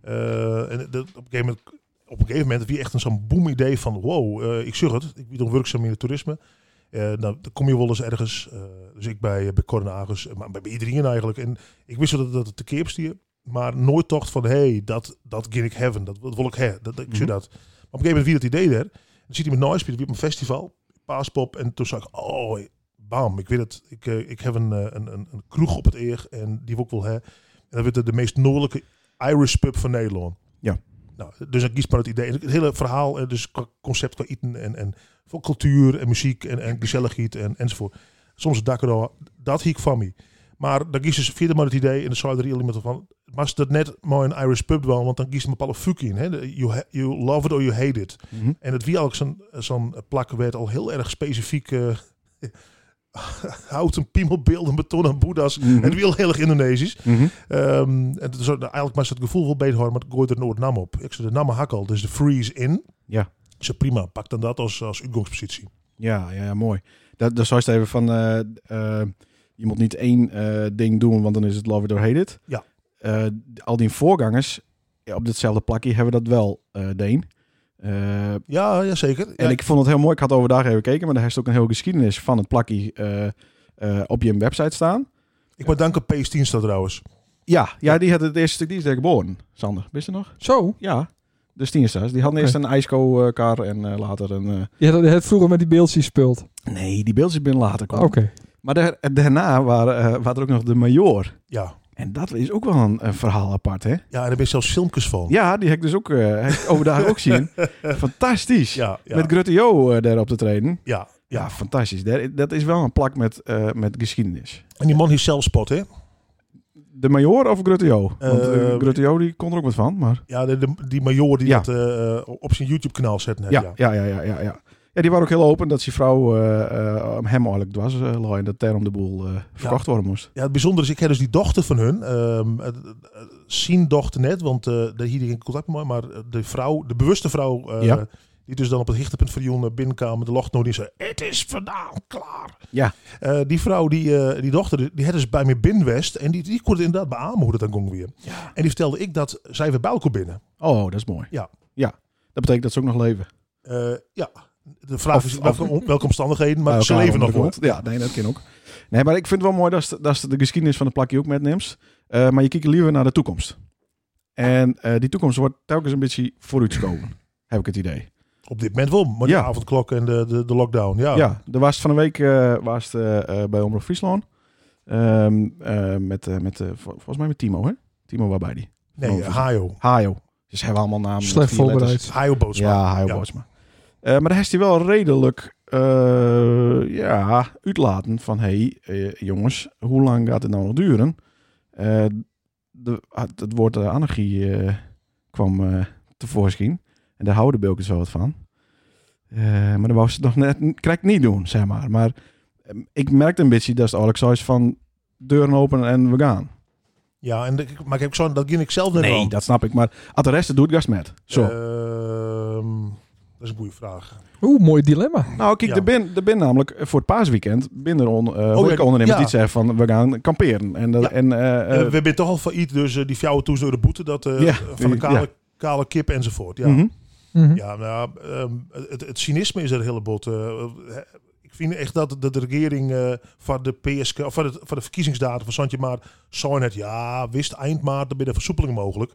Speaker 4: Eh, en dat, op, een gegeven moment, op een gegeven moment heb je echt een zo'n boom idee van wow, eh, ik zeg het, ik ben dan werkzaam in het toerisme. Eh, nou, dan kom je wel eens ergens. eh, dus ik bij, bij Cornagus, maar bij iedereen eigenlijk. En ik wist wel dat, dat het te keer stier, maar nooit dacht van hé, hey, dat, dat ging ik hebben, dat, dat wil ik hebben, dat, dat- ik zie
Speaker 1: Mhm.
Speaker 4: dat. Maar op een gegeven moment wie dat idee daar, dan zit hij met Noise, op een festival, paaspop. En toen zag ik, oh, bam, ik weet het. Ik, eh, ik heb een, eh, een, een, een kroeg op het eer en die wil ik wel hè. En dat werd de, de meest noordelijke Irish pub van Nederland.
Speaker 1: Ja.
Speaker 4: Nou, dus dan kies maar het idee. En Het hele verhaal, eh, dus qua concept, qua eten en, en voor cultuur en muziek en, en gezelligheid en, enzovoort. Soms dakken door, dat hiek van me. Maar dan kies ze vierde maar het idee en dan zou je er iemand van. Maar dat net maar een Irish pub wel, want dan kies je een bepaalde fuck in. Hè? De- You, ha- you love it or you hate it. En het wie zo'n zo'n plak werd al heel erg specifiek. eh, houten piemelbeelden, betonnen boeddha's.
Speaker 1: Mhm.
Speaker 4: En het wiel heel erg Indonesisch.
Speaker 1: Mhm.
Speaker 4: Ehm, en het is ook- eigenlijk maar het gevoel wel beter horen, maar het gooit er nooit nam op. Ik zei de namen hakkel, dus de freeze in.
Speaker 1: Ja.
Speaker 4: Ze prima, pak dan dat als, als uitgangspositie.
Speaker 1: Ja, ja, ja, mooi. Dat, dat zou je het even van... eh, eh, je moet niet één eh, ding doen, want dan is het Love It or Hate It.
Speaker 4: Ja.
Speaker 1: Eh, al die voorgangers ja, op ditzelfde plakje hebben dat wel, eh Deen. Eh,
Speaker 4: Ja, ja zeker.
Speaker 1: en ik vond het heel mooi. Ik had overdag even gekeken, maar daar heeft ook een hele geschiedenis van het plakje eh, eh, op je website staan.
Speaker 4: ik ben dank aan Pace Dienstad trouwens.
Speaker 1: Ja, ja, die had het eerste stuk, die is daar geboren. Sander, wist je nog?
Speaker 2: Zo.
Speaker 1: Ja, de Stiensta's. Die hadden
Speaker 2: Oké.
Speaker 1: eerst een ijsko-kar en eh, later een... eh,
Speaker 2: Je had, je had vroeger met die beeldjes gespeeld. Ah,
Speaker 1: Nee, die beeldjes binnen later
Speaker 2: Oké.
Speaker 1: komen. Maar daar- daarna waren, eh, waren er ook nog de major.
Speaker 4: Ja.
Speaker 1: En dat is ook wel een, een verhaal apart, hè?
Speaker 4: ja, en daar ben je zelfs filmpjes van.
Speaker 1: Ja, die heb ik dus ook, eh, heb ik overdag ook zien. Fantastisch.
Speaker 4: ja, ja.
Speaker 1: Met Grutte Jo eh, daar op te treden.
Speaker 4: ja,
Speaker 1: Ja,
Speaker 4: ja.
Speaker 1: fantastisch. Daar- dat is wel een plak met, eh, met geschiedenis.
Speaker 4: En die man heeft zelfspot, hè?
Speaker 1: De major of Grutte Jo? Want eh,
Speaker 4: Eh,
Speaker 1: Grutte Jo die kon er ook wat van, maar...
Speaker 4: Ja, de, de- die major die
Speaker 1: Ja.
Speaker 4: dat eh, op zijn YouTube-kanaal zet. Net,
Speaker 1: Ja, ja, ja, ja, ja. ja, ja. die waren ook heel open dat zijn vrouw eh, eh, hem eigenlijk dwars eh, lag en dat daarom de boel eh, verkocht worden moest.
Speaker 4: Ja, het bijzondere is, ik heb dus die dochter van hun, ehm, eh, eh, zien dochter net, want eh daar hier in contact mee, maar eh, de vrouw, de bewuste vrouw, eh,
Speaker 1: Ja.
Speaker 4: die dus dan op het hichtepunt van Jon binnenkwam, de locht nog die zei, het is vandaan klaar.
Speaker 1: Ja.
Speaker 4: Eh, die vrouw, die, eh, die dochter, die had dus bij me binnenwest en die, die kon het inderdaad beamen hoe dat dan ging weer. En die vertelde ik dat zij weer bij elkaar binnen.
Speaker 1: Oh, dat is mooi.
Speaker 4: Ja.
Speaker 1: Ja, dat betekent dat ze ook nog leven.
Speaker 4: Eh, ja, de vraag
Speaker 1: Of-
Speaker 4: is
Speaker 1: of-
Speaker 4: welke, welke omstandigheden,
Speaker 1: Bij
Speaker 4: maar ze
Speaker 1: elkaar
Speaker 4: leven nog
Speaker 1: onder
Speaker 4: wel.
Speaker 1: de grond. Ja, nee, dat kan ook. Nee, maar ik vind het wel mooi dat ze, dat ze de geschiedenis van de plakje ook metneemt. Eh, maar je kijkt liever naar de toekomst. En eh, die toekomst wordt telkens een beetje vooruitgeschoven, heb ik het idee.
Speaker 4: Op dit moment wel, maar de
Speaker 1: Ja.
Speaker 4: avondklok en de, de, de lockdown. Ja,
Speaker 1: Ja, er was van een week eh, was het, eh, eh, bij Omroep Friesland. Ehm, eh, met, eh, met eh, vol- volgens mij met Timo, hè? Timo, waarbij die?
Speaker 4: nee,
Speaker 1: Oh,
Speaker 4: Hajo.
Speaker 1: Hajo. Dus hebben allemaal namen. met
Speaker 2: Slecht
Speaker 1: vier letters.
Speaker 2: voorbereid.
Speaker 4: Hajo boodschap.
Speaker 1: Ja, Hajo Botsma. Eh, maar daar heeft hij wel redelijk eh, ja, uitlaten van... hé, hey, eh, jongens, hoe lang gaat het nou nog duren? Eh, de, het- het woord eh, anarchie eh, kwam eh, tevoorschijn. En daar houden Bilkens wel wat van. Eh, maar dan wou ze het nog net krijg niet doen, zeg maar. Maar eh, ik merkte een beetje dat het Alex zoiets van... deuren open en we gaan.
Speaker 4: Ja, en de- maar ik heb zo, dat ging ik zelf net al.
Speaker 1: dat snap ik. Maar als de rest het doet, gast met. Zo.
Speaker 4: Eh, Ehm, dat is een goede vraag.
Speaker 2: Oeh, mooi dilemma.
Speaker 1: Nou, kijk,
Speaker 4: Ja.
Speaker 1: er bin, er bin namelijk voor het paasweekend binnen on,
Speaker 2: Oh,
Speaker 1: eh
Speaker 4: ja,
Speaker 1: ondernemers
Speaker 4: ja.
Speaker 1: die zeggen van we gaan kamperen en dat
Speaker 4: Ja.
Speaker 1: en eh,
Speaker 4: Eh,
Speaker 1: eh,
Speaker 4: we hebben toch al failliet, dus eh, die fjouwen toes door de boete dat, eh,
Speaker 1: Ja,
Speaker 4: van de kale,
Speaker 1: ja.
Speaker 4: kale kip enzovoort. Ja,
Speaker 1: mhm.
Speaker 2: Mhm.
Speaker 4: ja nou, ehm, het, het cynisme is er een heleboel. eh, eh, ik vind echt dat de, de regering eh, van de PSK, of van, het, van de verkiezingsdatum van Santje Maar, zou het ja, wist eind maart, dan ben de versoepeling mogelijk.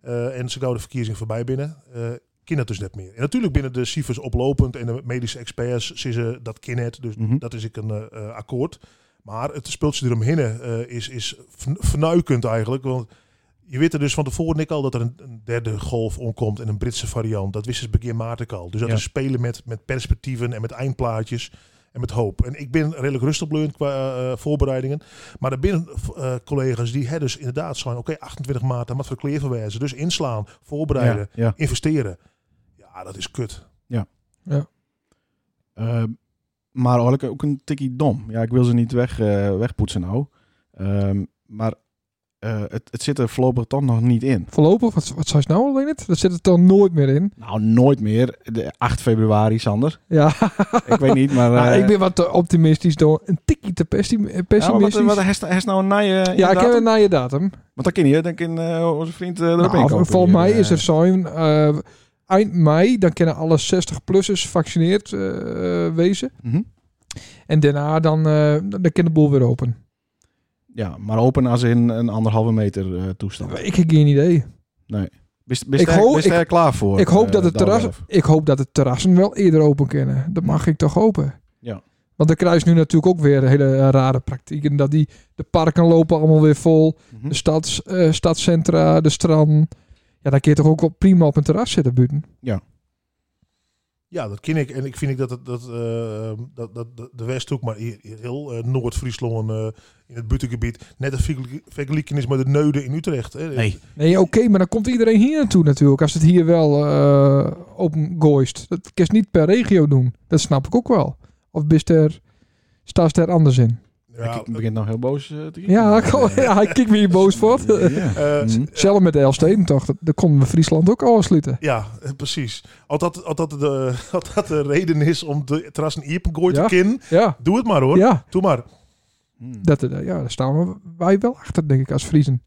Speaker 4: Eh, en ze gauw de verkiezingen voorbij binnen. eh kind het dus net meer. En natuurlijk binnen de cijfers oplopend en de medische experts zien ze dat kind het. Dus
Speaker 1: Mhm.
Speaker 4: dat is ik een eh, eh, akkoord. Maar het speeltje eromheen eh is, is vn- fnuikend eigenlijk. Want je weet er dus van tevoren ik al dat er een, een derde golf onkomt en een Britse variant. Dat wisten ze begin maart ook al. Dus dat
Speaker 1: Ja.
Speaker 4: is spelen met, met perspectieven en met eindplaatjes en met hoop. En ik ben redelijk rustig bleund qua eh, voorbereidingen. Maar er binnen eh, collega's die hè, dus inderdaad zijn, oké, 28 maart, dan wat voor kleer verwijzen. Dus inslaan, voorbereiden,
Speaker 1: ja, ja.
Speaker 4: investeren. Ja, dat is kut.
Speaker 1: Eh, maar eigenlijk ook een tikkie dom. Ja, ik wil ze niet weg, eh, wegpoetsen nou. Ehm, maar eh, het, het zit er voorlopig toch nog niet in.
Speaker 2: Voorlopig, wat, wat zei ze nou alleen het? Dat zit het dan nooit meer in.
Speaker 1: Nou, nooit meer. De 8 februari, Sander.
Speaker 2: Ja,
Speaker 1: Ik weet niet, maar...
Speaker 2: nou,
Speaker 1: eh,
Speaker 2: ik ben wat te optimistisch door. Een tikje te pessim-
Speaker 1: ja, maar wat,
Speaker 2: pessimistisch. Ja,
Speaker 1: wat, heeft- heeft nou een naaie...
Speaker 2: ik heb een na je datum.
Speaker 1: Want dan kan je, dan kan eh, onze vriend eh, erop
Speaker 2: Nou,
Speaker 1: inkopen.
Speaker 2: volgens
Speaker 1: hier,
Speaker 2: mij
Speaker 1: eh.
Speaker 2: is er zo'n... eh, eind mei, dan kunnen alle 60-plussers gevaccineerd eh, eh, wezen.
Speaker 1: Mhm.
Speaker 2: En daarna dan, eh, dan kan de boel weer open.
Speaker 1: Ja, maar open als in een anderhalve meter eh toestand.
Speaker 2: Ik heb geen idee.
Speaker 1: Bist, bist
Speaker 2: Ik
Speaker 1: er,
Speaker 2: hoop-
Speaker 1: bist
Speaker 2: ik-
Speaker 1: er klaar voor?
Speaker 2: Ik hoop,
Speaker 1: eh,
Speaker 2: dat de
Speaker 1: dan
Speaker 2: terras,
Speaker 1: wel?
Speaker 2: ik hoop dat de terrassen wel eerder open kunnen. Dat mag ik toch hopen.
Speaker 1: Ja.
Speaker 2: Want dan krijg je nu natuurlijk ook weer hele eh, rare praktijken. Dat die, de parken lopen allemaal weer vol.
Speaker 1: Mhm.
Speaker 2: De stads, eh, stadscentra, de strand. Ja, dan kun je toch ook wel prima op een terras zitten buiten.
Speaker 4: Ja, dat ken ik. En ik vind ik dat, het- dat, eh, dat, dat, dat de Westhoek, maar hier, hier heel eh, Noord-Friesland eh, in het buitengebied, net een vergelijk- vergelijking is met de Neude in Utrecht. Hè.
Speaker 1: Nee.
Speaker 2: Nee, oké, maar dan komt iedereen hier naartoe natuurlijk. Als het hier wel eh open gooist. Dat kun je niet per regio doen. Dat snap ik ook wel. Of bist er, staat er anders in?
Speaker 4: Ja,
Speaker 1: ik begint nou heel boos eh, te
Speaker 2: Ja,
Speaker 1: kijken.
Speaker 2: kom- ja, hij kijkt me hier boos voor.
Speaker 1: Eh, ja.
Speaker 4: eh,
Speaker 1: Mhm.
Speaker 2: Zelf met de Elfsteden toch, dat, dat konden we Friesland ook afsluiten.
Speaker 4: ja, eh, precies. Als dat, als, dat de, als dat de reden is om de terrassen Ierpengooi te
Speaker 2: Ja.
Speaker 4: kennen,
Speaker 2: Ja,
Speaker 4: doe het maar hoor.
Speaker 2: ja,
Speaker 4: Doe maar.
Speaker 1: Mhm.
Speaker 2: dat, eh, ja, daar staan we, wij wel achter, denk ik, als Friesen.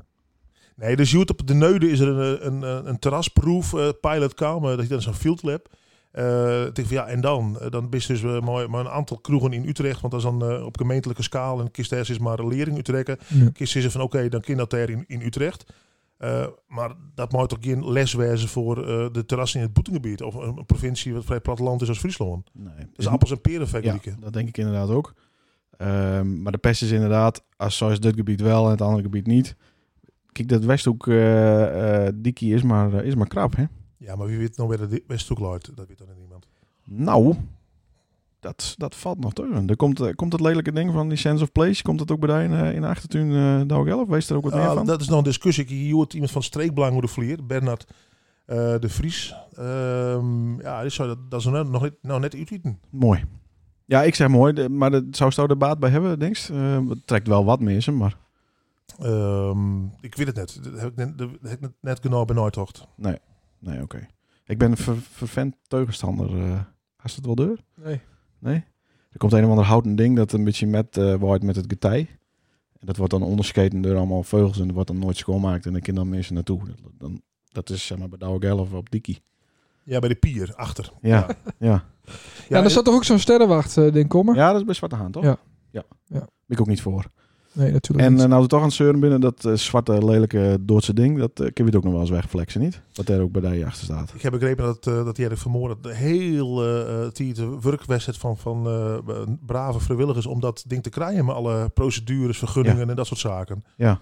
Speaker 4: Nee, dus je hoort op de Neude is er een, eh, een, een, een terrasproef eh, pilot kwam, eh, dat je dan zo'n field lab. Eh, ik denk van, ja, en dan? Eh, Dan is dus eh, maar, maar een aantal kroegen in Utrecht, want dat is dan eh, op gemeentelijke schaal. En kist is maar een lering Utrecht.
Speaker 2: Ja.
Speaker 4: Kist is er van, oké, dan kind dat daar in, in Utrecht. Eh, maar dat moet toch geen les wijzen voor eh, de terrassen in het Boetengebied. Of een, een provincie wat vrij platteland is als Friesland.
Speaker 1: Nee.
Speaker 4: Dus appels en peren
Speaker 1: ja,
Speaker 4: vergelijken.
Speaker 1: dat denk ik inderdaad ook. Ehm, maar de pest is inderdaad, als zoals dit gebied wel en het andere gebied niet. Kijk, dat Westhoek eh, eh, dikkie is maar, eh, is maar krap, hè?
Speaker 4: Ja. maar wie weet nou weer de Westhoek luidt? Dat weet dan niemand.
Speaker 1: Nou, dat, dat valt nog teuren. Er komt, eh, komt dat lelijke ding van die Sense of Place, komt dat ook bij in, in de achtertuin eh Douwe Gelf? Wees er ook wat meer
Speaker 4: Ah,
Speaker 1: van?
Speaker 4: Dat is nou een discussie. Hier hoort iemand van Streekbelang hoe de vlier, Bernard eh, de Vries. Ehm, ja, die zou dat, dat is nou nog niet, nou net uitwieten.
Speaker 1: Mooi. Ja, ik zeg mooi, de- maar dat zou Stouw er baat bij hebben, denk je? Eh, het trekt wel wat meer, ze, maar...
Speaker 4: Ehm, ik weet het net. Dat heb ik net, dat heb ik net, net genoeg benauwd. hoort.
Speaker 1: Nee, oké. Ik ben een ver, vervent teugenstander. eh. Als het wel deur?
Speaker 2: Nee.
Speaker 1: Nee? Er komt een of ander houten ding dat een beetje met eh wordt met het getij. En dat wordt dan ondersketen door allemaal vogels en dat wordt dan nooit schoonmaakt. En dan kunnen dan mensen naartoe. Dat, dan, dat is zeg maar bij Douwe Gelf op Dikkie.
Speaker 4: Ja, bij de pier, achter.
Speaker 1: Ja, ja.
Speaker 2: Ja, daar zat toch ook zo'n sterrenwacht eh ding komen?
Speaker 1: Ja, dat is bij Zwarte Haan, toch?
Speaker 2: Ja.
Speaker 1: Ja.
Speaker 2: Ja.
Speaker 1: Ben ik ook niet voor.
Speaker 2: Nee, natuurlijk
Speaker 1: En
Speaker 2: niet.
Speaker 1: eh, nou we toch aan het zeuren binnen, dat eh, zwarte, lelijke, Doodse ding, dat eh kun je het ook nog wel eens wegflexen, niet? Wat er ook bij daar achter staat.
Speaker 4: Ik heb begrepen dat, eh dat Jerry vanmorgen de heel eh eh, die de werkwedstrijd van, van eh, brave vrijwilligers om dat ding te krijgen. Met alle procedures, vergunningen en dat soort zaken.
Speaker 1: Ja.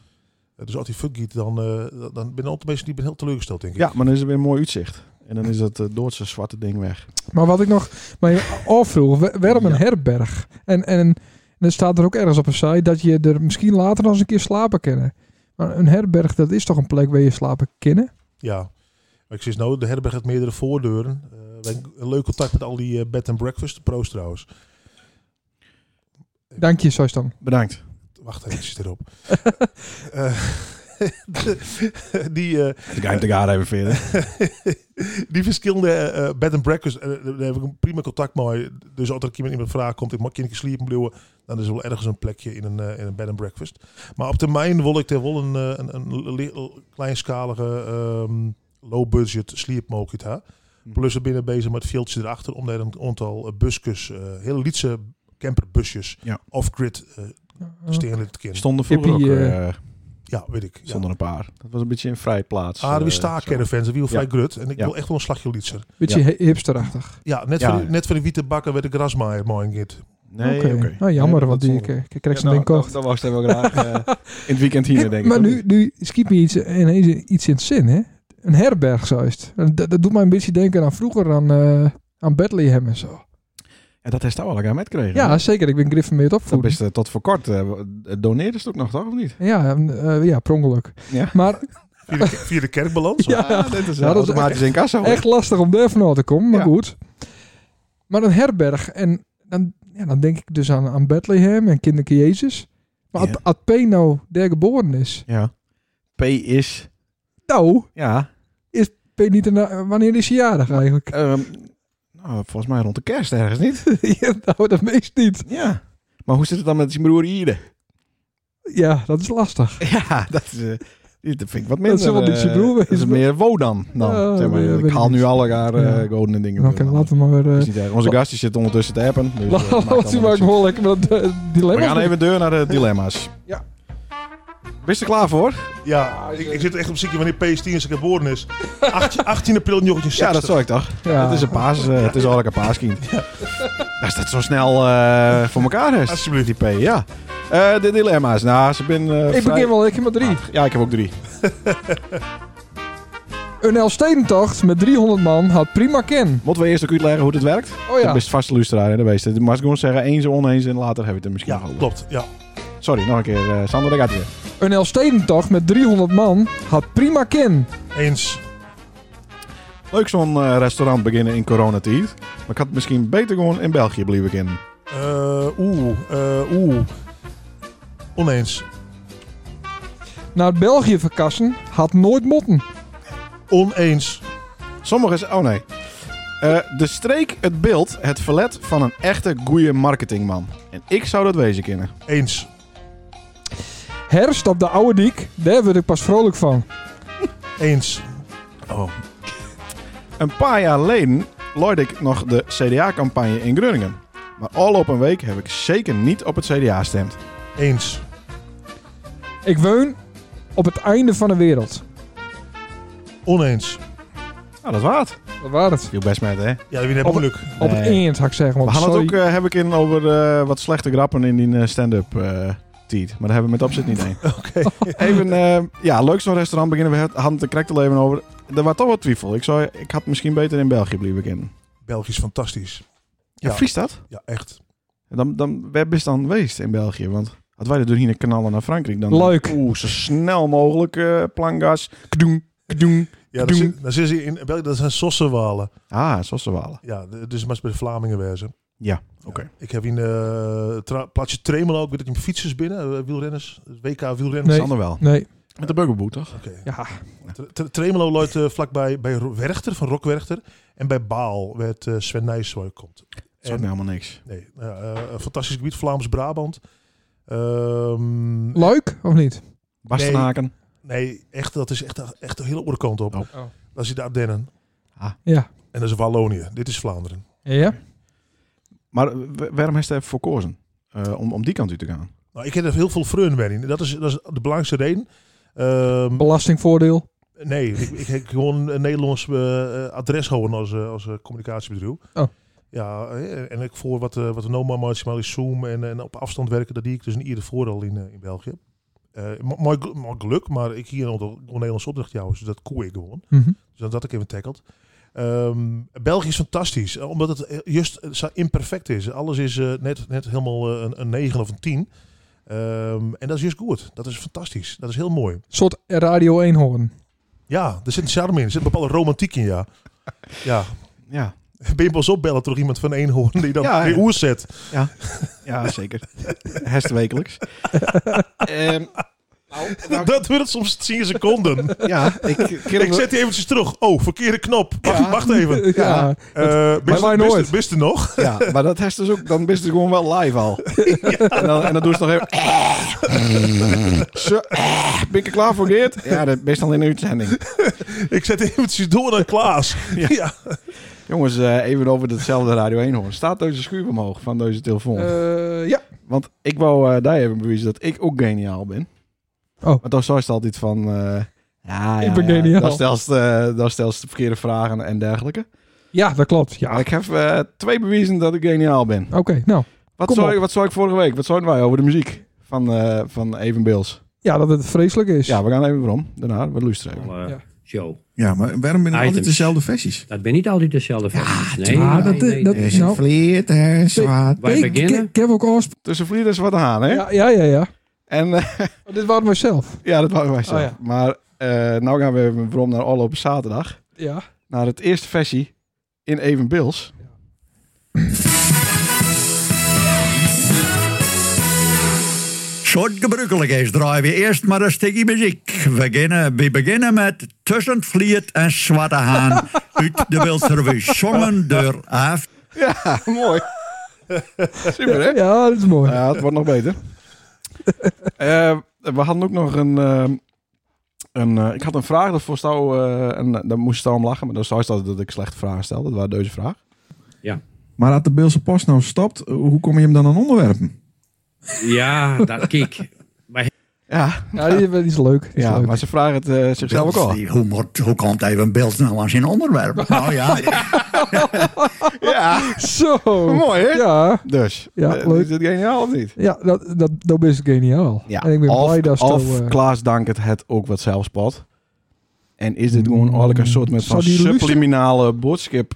Speaker 4: Eh, Dus als die fuck giet, dan, eh dan ben ik mensen die ben heel teleurgesteld, denk ik.
Speaker 1: Ja, maar dan is er weer een mooi uitzicht. En dan is dat eh, Doodse zwarte ding weg.
Speaker 2: Maar wat ik nog mij afvroeg, wa- waarom een
Speaker 1: Ja.
Speaker 2: herberg? En, en, en er staat er ook ergens op een site dat je er misschien later nog eens een keer slapen kan. Maar een herberg, dat is toch een plek waar je slapen kan?
Speaker 4: Ja. Maar ik zie nou, de herberg heeft meerdere voordeuren. Eh, we hebben een leuk contact met al die eh, bed and breakfast. Proost trouwens.
Speaker 2: Dank je, zoals dan.
Speaker 1: Bedankt.
Speaker 4: Wacht even erop. Eh, die, eh,
Speaker 1: Ik ga hem te garen even verder.
Speaker 4: die verschillende eh, bed and breakfast, eh, daar heb ik een prima contact mee. Dus als er een keer iemand vraag komt, ik mag een keer sliepen blijven, dan is er wel ergens een plekje in een, eh, in een bed and breakfast. Maar op termijn wil ik er wel een, eh, een, een le- kleinschalige, ehm, low budget sleepmogelijkheid hebben.
Speaker 1: Mhm.
Speaker 4: Plus we binnen bezig met veldje erachter om daar een aantal eh, busjes, eh, hele lietse camperbusjes,
Speaker 1: Ja.
Speaker 4: off-grid eh stenen te kennen.
Speaker 1: Stonden vroeger ook
Speaker 2: Hippie,
Speaker 1: eh,
Speaker 4: Ja, weet ik. Ja.
Speaker 1: stonden een paar. Dat was een beetje een vrij plaats.
Speaker 4: Ah,
Speaker 1: eh,
Speaker 4: wie staan
Speaker 1: zo.
Speaker 4: caravans, wie wil vrij grut. En ik
Speaker 1: Ja.
Speaker 4: wil echt wel een slagje lietser.
Speaker 2: Beetje hi- hipsterachtig.
Speaker 4: Ja, net,
Speaker 1: Ja.
Speaker 4: Van, die, net van de witte bakken werd de grasmaaier mooi in git.
Speaker 1: Nee, oké.
Speaker 2: Nou, jammer,
Speaker 1: Nee,
Speaker 2: want
Speaker 1: dat
Speaker 2: die
Speaker 1: stonden-
Speaker 2: ik, ik krijg zo'n
Speaker 1: Ja,
Speaker 2: ding
Speaker 1: nou,
Speaker 2: kocht.
Speaker 1: Dat was hij wel graag eh, in het weekend hier, denk ik.
Speaker 2: maar
Speaker 1: of
Speaker 2: nu,
Speaker 1: niet?
Speaker 2: nu schiet me iets, ineens iets in het zin, hè? Een herberg, zoist. Dat, dat doet mij een beetje denken aan vroeger, aan, eh aan Bethlehem en zo.
Speaker 1: Ja, dat heeft hij wel elkaar met gekregen.
Speaker 2: Ja, zeker. Ik ben Griffin
Speaker 1: Dat
Speaker 2: opvoeden.
Speaker 1: is eh, tot voor kort. eh doneerde ze het ook nog, toch? Of niet?
Speaker 2: Ja, en, eh, ja, per ongeluk.
Speaker 1: Ja.
Speaker 2: Maar
Speaker 4: Via de, via de kerkbalans.
Speaker 2: Ja.
Speaker 1: Ah, dit is
Speaker 2: Ja,
Speaker 1: eh,
Speaker 2: dat is
Speaker 1: automatisch in kassa.
Speaker 2: echt lastig om daar vanuit te komen, maar
Speaker 1: Ja.
Speaker 2: goed. Maar een herberg, en dan, ja, dan denk ik dus aan, aan Bethlehem en kinderke Jezus. Maar
Speaker 1: Ja.
Speaker 2: als Peno daar geboren is,
Speaker 1: Ja. P is.
Speaker 2: Nou,
Speaker 1: Ja.
Speaker 2: ik weet niet erna- wanneer is je jarig eigenlijk.
Speaker 1: ehm, nou, volgens mij rond de kerst ergens niet.
Speaker 2: Ja, nou, dat meest niet.
Speaker 1: Ja. Maar hoe zit het dan met zijn broer Ide?
Speaker 2: Ja, dat is lastig.
Speaker 1: Ja, dat is. eh, die- dat vind ik wat minder.
Speaker 2: is helemaal niet zijn
Speaker 1: eh,
Speaker 2: broer
Speaker 1: Dat is
Speaker 2: wezen.
Speaker 1: meer Wodan dan.
Speaker 2: Ja,
Speaker 1: zeg maar,
Speaker 2: weet-
Speaker 1: ik
Speaker 2: weet
Speaker 1: haal
Speaker 2: ik
Speaker 1: nu
Speaker 2: niet.
Speaker 1: alle haar eh
Speaker 2: Ja.
Speaker 1: golden dingen.
Speaker 2: Oké,
Speaker 1: door elkaar.
Speaker 2: laten we maar weer...
Speaker 1: Dat
Speaker 2: eh,
Speaker 1: is niet erg. Onze gast die zit ondertussen te appen. Dus, eh, dat maakt
Speaker 2: laten we
Speaker 1: allemaal
Speaker 2: maar
Speaker 1: niks uit.
Speaker 2: gewoon lekker met dat eh,
Speaker 1: we
Speaker 2: dilemma.
Speaker 1: gaan even deur naar de dilemma's.
Speaker 2: Ja.
Speaker 1: Wist je er klaar voor?
Speaker 4: Ja, ik, ik zit echt op ziekje wanneer PS10 is geboren is. 18, 18 april 1960.
Speaker 1: Ja, dat zou ik toch.
Speaker 2: Ja.
Speaker 1: Het is een paas, eh, het is eigenlijk een paaskind. Als dat zo snel eh, voor elkaar is.
Speaker 4: Alsjeblieft.
Speaker 1: Die P, ja. Eh, de dilemma's. Nou, ze ben, eh,
Speaker 2: Ik
Speaker 1: vrij- Ah.
Speaker 2: begin wel lekker met drie.
Speaker 1: Ja, ik heb ook drie.
Speaker 2: Een Elfstedentocht met 300 man had prima ken.
Speaker 1: Moeten we eerst ook uitleggen hoe dit werkt?
Speaker 2: Oh
Speaker 1: Dat
Speaker 2: ja.
Speaker 1: is vast luisteraar in de beest. De gewoon zeggen eens en oneens en later heb je het er misschien
Speaker 4: Ja,
Speaker 1: nog over.
Speaker 4: klopt. Ja.
Speaker 1: Sorry, nog een keer. eh, Sander, daar gaat hij weer.
Speaker 2: Een Elfstedentocht met 300 man had prima ken.
Speaker 4: Eens.
Speaker 1: Leuk zo'n eh, restaurant beginnen in coronatijd. Maar ik had misschien beter gewoon in België blijven kennen.
Speaker 4: Eh, Oeh. eh, Oeh. Oneens.
Speaker 2: Naar België verkassen had nooit motten.
Speaker 4: Oneens.
Speaker 1: Sommige z- Oh nee. Eh, de streek, het beeld, het verlet van een echte goeie marketingman. En ik zou dat wezen kennen.
Speaker 4: Eens.
Speaker 2: Herfst op de oude diek, daar word ik pas vrolijk van.
Speaker 4: Eens.
Speaker 1: Oh. Een paar jaar geleden leidde ik nog de CDA-campagne in Groningen. Maar al op een week heb ik zeker niet op het CDA gestemd.
Speaker 4: Eens.
Speaker 2: Ik woon op het einde van de wereld.
Speaker 4: Oneens.
Speaker 1: Nou, dat waard.
Speaker 2: Dat was het.
Speaker 1: Viel best met, hè?
Speaker 4: Ja, wie net
Speaker 2: Op-
Speaker 4: moeilijk.
Speaker 2: Op het
Speaker 1: Nee.
Speaker 2: eind, had ik zeggen.
Speaker 1: We
Speaker 2: Want
Speaker 1: hadden het
Speaker 2: sorry.
Speaker 1: ook, eh, heb ik in, over eh, wat slechte grappen in die eh, stand-up eh tiet. Maar daar hebben we met opzet niet een.
Speaker 4: Oké.
Speaker 1: Even, eh, ja, leuk zo'n restaurant beginnen. We hadden het er correct al even over. Er was toch wat twijfel. Ik, zou, ik had misschien beter in België blijven kennen.
Speaker 4: België is fantastisch.
Speaker 1: Ja,
Speaker 4: Ja.
Speaker 1: Vries dat?
Speaker 4: Ja, echt.
Speaker 1: Dan, dan, waar bist dan geweest in België? Want had wij er doorheen knallen naar Frankrijk dan...
Speaker 2: Leuk.
Speaker 1: Oeh, zo snel mogelijk eh plangas. Kdoen, kdoen.
Speaker 4: Ja, dan
Speaker 1: Doen.
Speaker 4: zit, dan zit ze in België, dat zijn sossenwalen.
Speaker 1: Ah, zoals ze walen.
Speaker 4: Ja, d- dus het was bij de Vlamingen wezen.
Speaker 1: Ja, oké.
Speaker 4: Ik heb in eh tra- plaatsje Tremelo, ik weet dat ik fietsers binnen, eh, wielrenners, WK wielrenners.
Speaker 2: Nee.
Speaker 1: Sander wel.
Speaker 2: Nee.
Speaker 1: Met de burgerboet, toch?
Speaker 4: Oké.
Speaker 2: Ja.
Speaker 4: Tre- Tre- Tremelo loopt eh, vlakbij bij Ro- Werchter, van Rockwerchter. En bij Baal, waar het eh, Sven Nijswijk komt.
Speaker 1: Dat is
Speaker 4: En-
Speaker 1: me helemaal niks.
Speaker 4: Nee, nou ja, eh, een fantastisch gebied, Vlaams-Brabant. Ehm,
Speaker 2: Leuk, of niet?
Speaker 1: Bastenaken.
Speaker 4: nee, echt, dat is echt, echt de hele oerkant op.
Speaker 1: Oh. Ah.
Speaker 2: Oh.
Speaker 4: Dat is de Ardennen.
Speaker 2: Ja.
Speaker 4: En dat is Wallonië. Dit is Vlaanderen.
Speaker 2: Ja?
Speaker 1: Maar eh, wa- waarom heeft hij ervoor gekozen? Eh, om, om die kant uit te gaan.
Speaker 4: Nou, ik heb er heel veel vreun bij in. Dat is, dat is de belangrijkste reden. Ehm,
Speaker 2: Belastingvoordeel.
Speaker 4: nee, ik, ik heb gewoon een Nederlands eh, eh, adres houden als, eh, als eh, communicatiebedrijf.
Speaker 2: Oh.
Speaker 4: Ja, eh, en ik voor wat, eh wat de Noma maximaal is Zoom en, en op afstand werken, dat die ik dus een ieder voordeel in, eh, in België. Eh, mo- mooi, gel- mooi geluk, maar ik hier nog een Nederlands opdracht jou, dus dat koe ik gewoon.
Speaker 2: Mhm.
Speaker 4: Dus dat had ik even tackled. Ehm, België is fantastisch, eh, omdat het eh, juist eh, zo imperfect is. Alles is eh, net, net helemaal eh, een, een 9 of een 10. Ehm, en dat is juist goed. Dat is fantastisch. Dat is heel mooi.
Speaker 2: Een soort Radio 1 horen.
Speaker 4: Ja, er zit een charme in. Er zit een bepaalde romantiek in, ja. Ja.
Speaker 1: Ja,
Speaker 4: Ben je pas opbellen door iemand van Eenhoorn die dan
Speaker 1: Ja,
Speaker 4: weer
Speaker 1: ja.
Speaker 4: oer zet?
Speaker 1: ja zeker. Hest wekelijks. Ehm,
Speaker 4: Nou,
Speaker 2: Nou,
Speaker 4: Dat duurt soms 10 seconden.
Speaker 1: ja, ik,
Speaker 4: Ik zet die eventjes terug. Oh, verkeerde knop. Wacht,
Speaker 1: Ja.
Speaker 4: wacht even.
Speaker 2: Ja.
Speaker 1: Ja.
Speaker 4: Eh
Speaker 2: Maar wij
Speaker 4: bist, bist,
Speaker 2: nooit.
Speaker 4: bist er nog?
Speaker 1: Ja, maar dat hest dus ook, dan is het gewoon wel live al. En, dan, en dan doen ze nog even... Zo, eh, ben ik er klaar voor, Geert? Ja, dat is dan in de uitzending.
Speaker 4: Ik zet eventjes door naar Klaas. Ja.
Speaker 1: Jongens, eh, even over datzelfde Radio 1 hoor. Staat deze schuur omhoog van deze telefoon?
Speaker 2: Eh, ja.
Speaker 1: Want ik wou eh, daar even bewijzen dat ik ook geniaal ben.
Speaker 2: Oh.
Speaker 1: Maar dan zo is het altijd van... eh, ja,
Speaker 2: Ik
Speaker 1: ja,
Speaker 2: ben
Speaker 1: ja.
Speaker 2: geniaal.
Speaker 1: Dan stel ze eh, dan stel ze de verkeerde vragen en dergelijke.
Speaker 2: ja, dat klopt. Ja.
Speaker 1: Ja, ik heb eh, twee bewijzen dat ik geniaal ben.
Speaker 2: Oké, nou.
Speaker 1: Wat
Speaker 2: Kom
Speaker 1: zou,
Speaker 2: op.
Speaker 1: ik- wat zou ik vorige week? Wat zouden wij over de muziek van, eh van Even Bills?
Speaker 2: Ja, dat het vreselijk is.
Speaker 1: Ja, we gaan even waarom. Daarna, we luisteren even.
Speaker 5: eh,
Speaker 2: Ja.
Speaker 5: show.
Speaker 6: Ja, maar waarom ben ik altijd
Speaker 5: Items.
Speaker 6: dezelfde versies?
Speaker 5: Dat ben niet altijd dezelfde versies. nee,
Speaker 2: tuurlijk.
Speaker 5: nee,
Speaker 2: Ah, dat-
Speaker 5: nee,
Speaker 2: dat-
Speaker 5: nee.
Speaker 6: Er is een
Speaker 2: Nou.
Speaker 6: vleet, er is wat.
Speaker 5: Wij
Speaker 2: ik,
Speaker 5: beginnen.
Speaker 2: ik- ik heb ook oorsp...
Speaker 1: Tussen vliegers wat aan, hè?
Speaker 2: Ja, ja, ja. ja.
Speaker 1: En eh,
Speaker 2: Oh, dit waren wij zelf.
Speaker 1: ja, dat waren wij zo.
Speaker 2: Oh, ja.
Speaker 1: Maar eh nou gaan we even waarom naar All op zaterdag.
Speaker 2: Ja.
Speaker 1: Naar het eerste versie in Even Bills.
Speaker 6: Zo
Speaker 7: zoals het gebruikelijk is, draaien we eerst maar een stukje muziek. We beginnen, we beginnen met Tussen Vliet en Zwarte Haan uit de Wildservie, zongen door Aaf.
Speaker 1: Ja, mooi. Super, hè?
Speaker 2: Ja, dat is mooi.
Speaker 1: Ja, het wordt nog beter. Eh, we hadden ook nog een... ehm, een eh, ik had een vraag dat voor Stouw... eh, en eh, daar moest Stouw om lachen. Maar dan Stouw dat, dat ik slechte vragen stelde. Dat waren deze vraag.
Speaker 6: Maar als de Beelse Post nou stopt, eh, hoe kom je hem dan aan onderwerpen?
Speaker 5: Ja, dat kijk.
Speaker 1: Ja,
Speaker 2: Ja, die, die is leuk. Die is
Speaker 1: ja
Speaker 2: leuk.
Speaker 1: maar ze vragen het eh, zichzelf ook al.
Speaker 7: Die- Hoe, moet- hoe komt even beeld nou aan zijn onderwerp? Nou ja,
Speaker 1: Ja,
Speaker 2: Zo.
Speaker 1: mooi hè?
Speaker 2: Ja,
Speaker 1: Dus,
Speaker 2: Ja,
Speaker 1: eh,
Speaker 2: leuk.
Speaker 1: is dit geniaal of niet?
Speaker 2: ja dat, dat, dat is geniaal.
Speaker 1: Ja,
Speaker 2: En ik ben
Speaker 1: of,
Speaker 2: blij dat
Speaker 1: of
Speaker 2: zo, eh,
Speaker 1: Klaas Dankert het ook wat zelf spot. En is dit gewoon eigenlijk een soort met van
Speaker 2: Mm, Zou die luxe-
Speaker 1: subliminale boodschap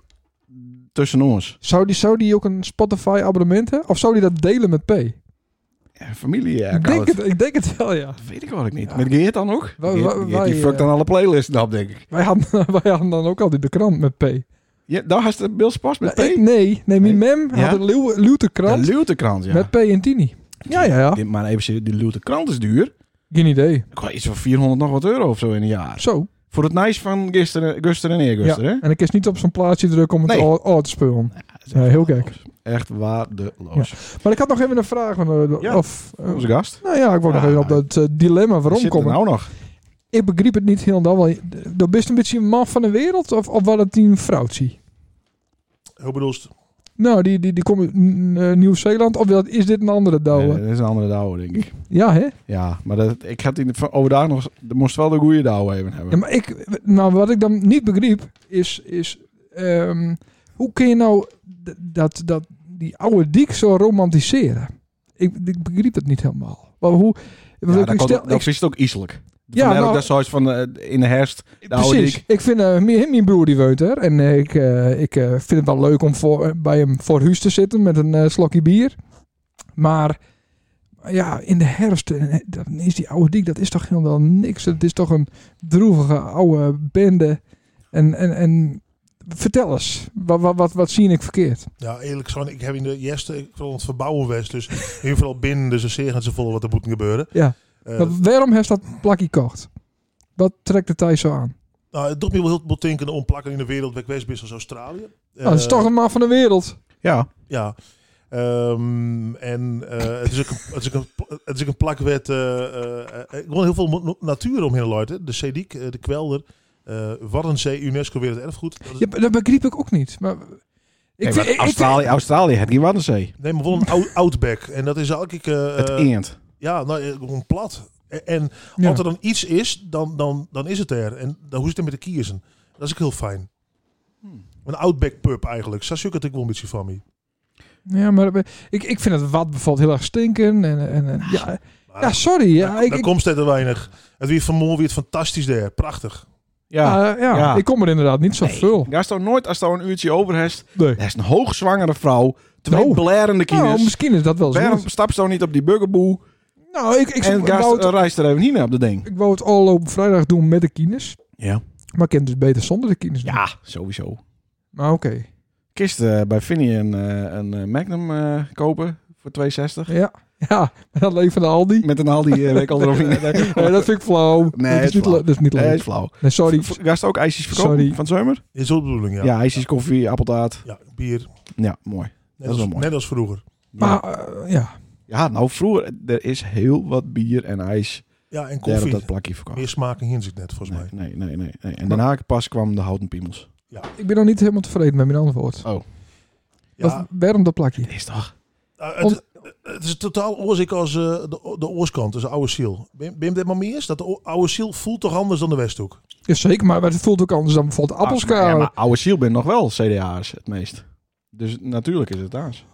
Speaker 1: tussen ons?
Speaker 2: zou, die, zou die ook een Spotify abonnement hebben? Of zou die dat delen met P?
Speaker 1: Ja, familie eh,
Speaker 2: ik, denk het, ik denk het wel, ja.
Speaker 1: Dat weet ik eigenlijk niet. Met Geert dan ook?
Speaker 2: Wa- wa-
Speaker 1: Geert- Geert,
Speaker 2: wij, eh,
Speaker 1: die fuckt dan alle playlisten op, denk ik.
Speaker 2: Wij hadden, wij hadden dan ook altijd de krant met P.
Speaker 1: Ja, daar had de Bills pas met
Speaker 2: Nou, ik-
Speaker 1: P.
Speaker 2: nee, nee, mijn mem
Speaker 1: Ja?
Speaker 2: had een leeuw- Luwte
Speaker 1: De
Speaker 2: krant
Speaker 1: Lute krant, ja.
Speaker 2: met P en Tini. Ja, ja, ja.
Speaker 1: Die- Maar even serieus, die Lute krant is duur.
Speaker 2: Geen idee.
Speaker 1: Ik wou Iets van 400 nog wat euro of zo in een jaar.
Speaker 2: Zo.
Speaker 1: Voor het nice van gisteren, gisteren en
Speaker 2: Ja.
Speaker 1: eergisteren. hè?
Speaker 2: En ik is niet op zo'n plaatsje druk om het
Speaker 1: Nee.
Speaker 2: al, al te spullen.
Speaker 1: Dat is
Speaker 2: Ja,
Speaker 1: echt
Speaker 2: heel
Speaker 1: waardeloos. Echt waardeloos.
Speaker 2: Maar ik had nog even een vraag. Van, eh,
Speaker 1: Ja.
Speaker 2: Of, eh,
Speaker 1: Onze gast.
Speaker 2: nou ja, ik wou nog
Speaker 1: Ja.
Speaker 2: even op dat eh, dilemma waarom
Speaker 1: Zit er
Speaker 2: komen.
Speaker 1: nou nog?
Speaker 2: Ik begreep het niet helemaal wel. Dat best een beetje een man van de wereld of, of wat het een vrouwtje?
Speaker 4: Hoe bedoelst
Speaker 2: Nou, die, die, die komt uit mm, eh, Nieuw-Zeeland. Of wel- is dit een andere douwe?
Speaker 1: Nee, dat is een andere douwe, denk ik.
Speaker 2: ja, hè?
Speaker 1: Ja, maar dat, ik had die van overdag nog... Er moest wel de goede douwe even hebben.
Speaker 2: Ja, maar ik, nou, wat ik dan niet begreep, is, is ehm, hoe kun je nou d- dat, dat, die oude diek zo romantiseren? Ik, ik begreep dat niet helemaal. Maar hoe, want
Speaker 1: Ja,
Speaker 2: ik,
Speaker 1: dat,
Speaker 2: stel,
Speaker 1: kan, dat
Speaker 2: ik,
Speaker 1: is het ook ieselijk.
Speaker 2: Ja,
Speaker 1: Ja, Vandaar
Speaker 2: nou-
Speaker 1: ook dat soort van eh, in de herfst. De oude
Speaker 2: precies,
Speaker 1: dik.
Speaker 2: ik vind eh, mijn, mijn broer die woont er en eh, ik, eh, ik eh, vind het wel leuk om voor, eh, bij hem voor huis te zitten met een eh, slokje bier. Maar ja, in de herfst eh, dan is die oude diek, dat is toch helemaal niks. Het is toch een droevige oude bende. En, en, en vertel eens, wat, wat, wat, wat zie ik verkeerd?
Speaker 4: Ja, eerlijk gezegd, ik heb in de eerste, ik wil het verbouwen was, dus heel veel binnen, dus ze zeggen ze vol wat er moet gebeuren.
Speaker 2: Ja.
Speaker 4: Eh,
Speaker 2: Maar waarom heeft dat plakje kocht? Wat trekt de Thijs zo aan?
Speaker 4: nou, het doet me wel heel veel denken om plakken in de wereld, weg west, als Australië.
Speaker 2: Ah, dat is
Speaker 4: Eh,
Speaker 2: toch een man van de wereld.
Speaker 1: Ja,
Speaker 4: Ja. Ehm, en eh, het, is ook een, het, is ook een, pla- het is ook een eh, plakwet. ik woon heel veel mo- natuur omheen, Leute. De Sediek, eh, de Kwelder, eh Waddenzee, UNESCO Werelderfgoed. Dat is-
Speaker 2: Ja, dat begreep ik ook niet. Maar ik
Speaker 1: Kijk,
Speaker 2: vind-
Speaker 1: maar
Speaker 2: ik- ik-
Speaker 1: Australië, Australië het geen Waddenzee.
Speaker 4: Nee, maar wel een ou- outback. En dat is eigenlijk... eh,
Speaker 1: het eend.
Speaker 4: ja, nou, eh, gewoon plat. En, en
Speaker 2: Ja.
Speaker 4: als er dan iets is, dan, dan, dan is het er. En dan, hoe zit het met de kiezen? Dat is ook heel fijn. Een outback pub eigenlijk. Zo zoek het ik wel een beetje van me.
Speaker 2: Ja, maar we- ik, ik vind het wat bijvoorbeeld heel erg stinken. En, en, en- ja,
Speaker 4: Maar
Speaker 2: ja, sorry. Ja,
Speaker 4: daar,
Speaker 2: ik,
Speaker 4: daar
Speaker 2: ik-
Speaker 4: komt steeds te weinig. Het weer vanmorgen weer fantastisch daar. Prachtig.
Speaker 1: Ja.
Speaker 2: eh, ja,
Speaker 1: Ja.
Speaker 2: ik kom er inderdaad niet zo veel.
Speaker 1: eh, Daar is toch nooit, als daar een uurtje over hebt,
Speaker 2: Nee.
Speaker 1: daar is een hoogzwangere vrouw, twee
Speaker 2: Nou.
Speaker 1: blerende
Speaker 2: Nou,
Speaker 1: kines.
Speaker 2: misschien is dat wel zo.
Speaker 1: Waarom stap je nou niet op die burgerboe
Speaker 2: Nou, ik, ik,
Speaker 1: en
Speaker 2: ik, wou
Speaker 1: gast
Speaker 2: het,
Speaker 1: reist er even niet naar op de ding?
Speaker 2: ik wou het al op vrijdag doen met de kines.
Speaker 1: Ja.
Speaker 2: Maar ik kan het dus beter zonder de kines doen.
Speaker 1: Ja, sowieso.
Speaker 2: Maar oké.
Speaker 1: Kist eh, bij Vinnie een, eh, een eh, Magnum eh, kopen voor 2,60.
Speaker 2: Ja. ja, dat leven van de Aldi.
Speaker 1: Met een Aldi eh, week al erop in.
Speaker 2: Nee, dat vind ik flauw. dat
Speaker 1: het
Speaker 2: is
Speaker 1: is
Speaker 2: niet,
Speaker 1: flauw.
Speaker 2: le- dat is niet
Speaker 1: Nee, is
Speaker 2: leuk.
Speaker 1: flauw.
Speaker 2: Nee, sorry.
Speaker 1: V- Gast ook ijsjes verkopen
Speaker 2: Sorry.
Speaker 1: van zomer?
Speaker 4: Is dat de bedoeling,
Speaker 1: Ja,
Speaker 4: ja.
Speaker 1: ijsjes, koffie, appeltaart.
Speaker 4: Ja, bier.
Speaker 1: Ja, mooi.
Speaker 4: Net,
Speaker 1: is wel
Speaker 4: als,
Speaker 1: mooi.
Speaker 4: net als vroeger.
Speaker 2: Maar eh, ja,
Speaker 1: Ja, nou vroeger, er is heel wat bier en ijs
Speaker 4: Ja, en
Speaker 1: daar op
Speaker 4: koffie.
Speaker 1: dat plakje verkocht.
Speaker 4: Meer smaak in zit net, volgens
Speaker 1: Nee,
Speaker 4: mij.
Speaker 1: nee, nee, nee, nee. En daarna pas kwam de houten piemels.
Speaker 2: ik ben nog niet helemaal tevreden met mijn antwoord.
Speaker 4: Ja,
Speaker 2: Wat, waarom dat plakje?
Speaker 1: Is toch?
Speaker 4: eh, het, het is totaal oorzik als eh, de, de oorskant, dus de oude ziel. Ben ben je dat maar mee eens? Dat de o- oude ziel voelt toch anders dan de westhoek?
Speaker 2: Ja, zeker, maar het voelt ook anders dan bijvoorbeeld appelskalen.
Speaker 1: Ah, ja, maar oude ziel ben nog wel CDA's het meest. Dus natuurlijk is het aas.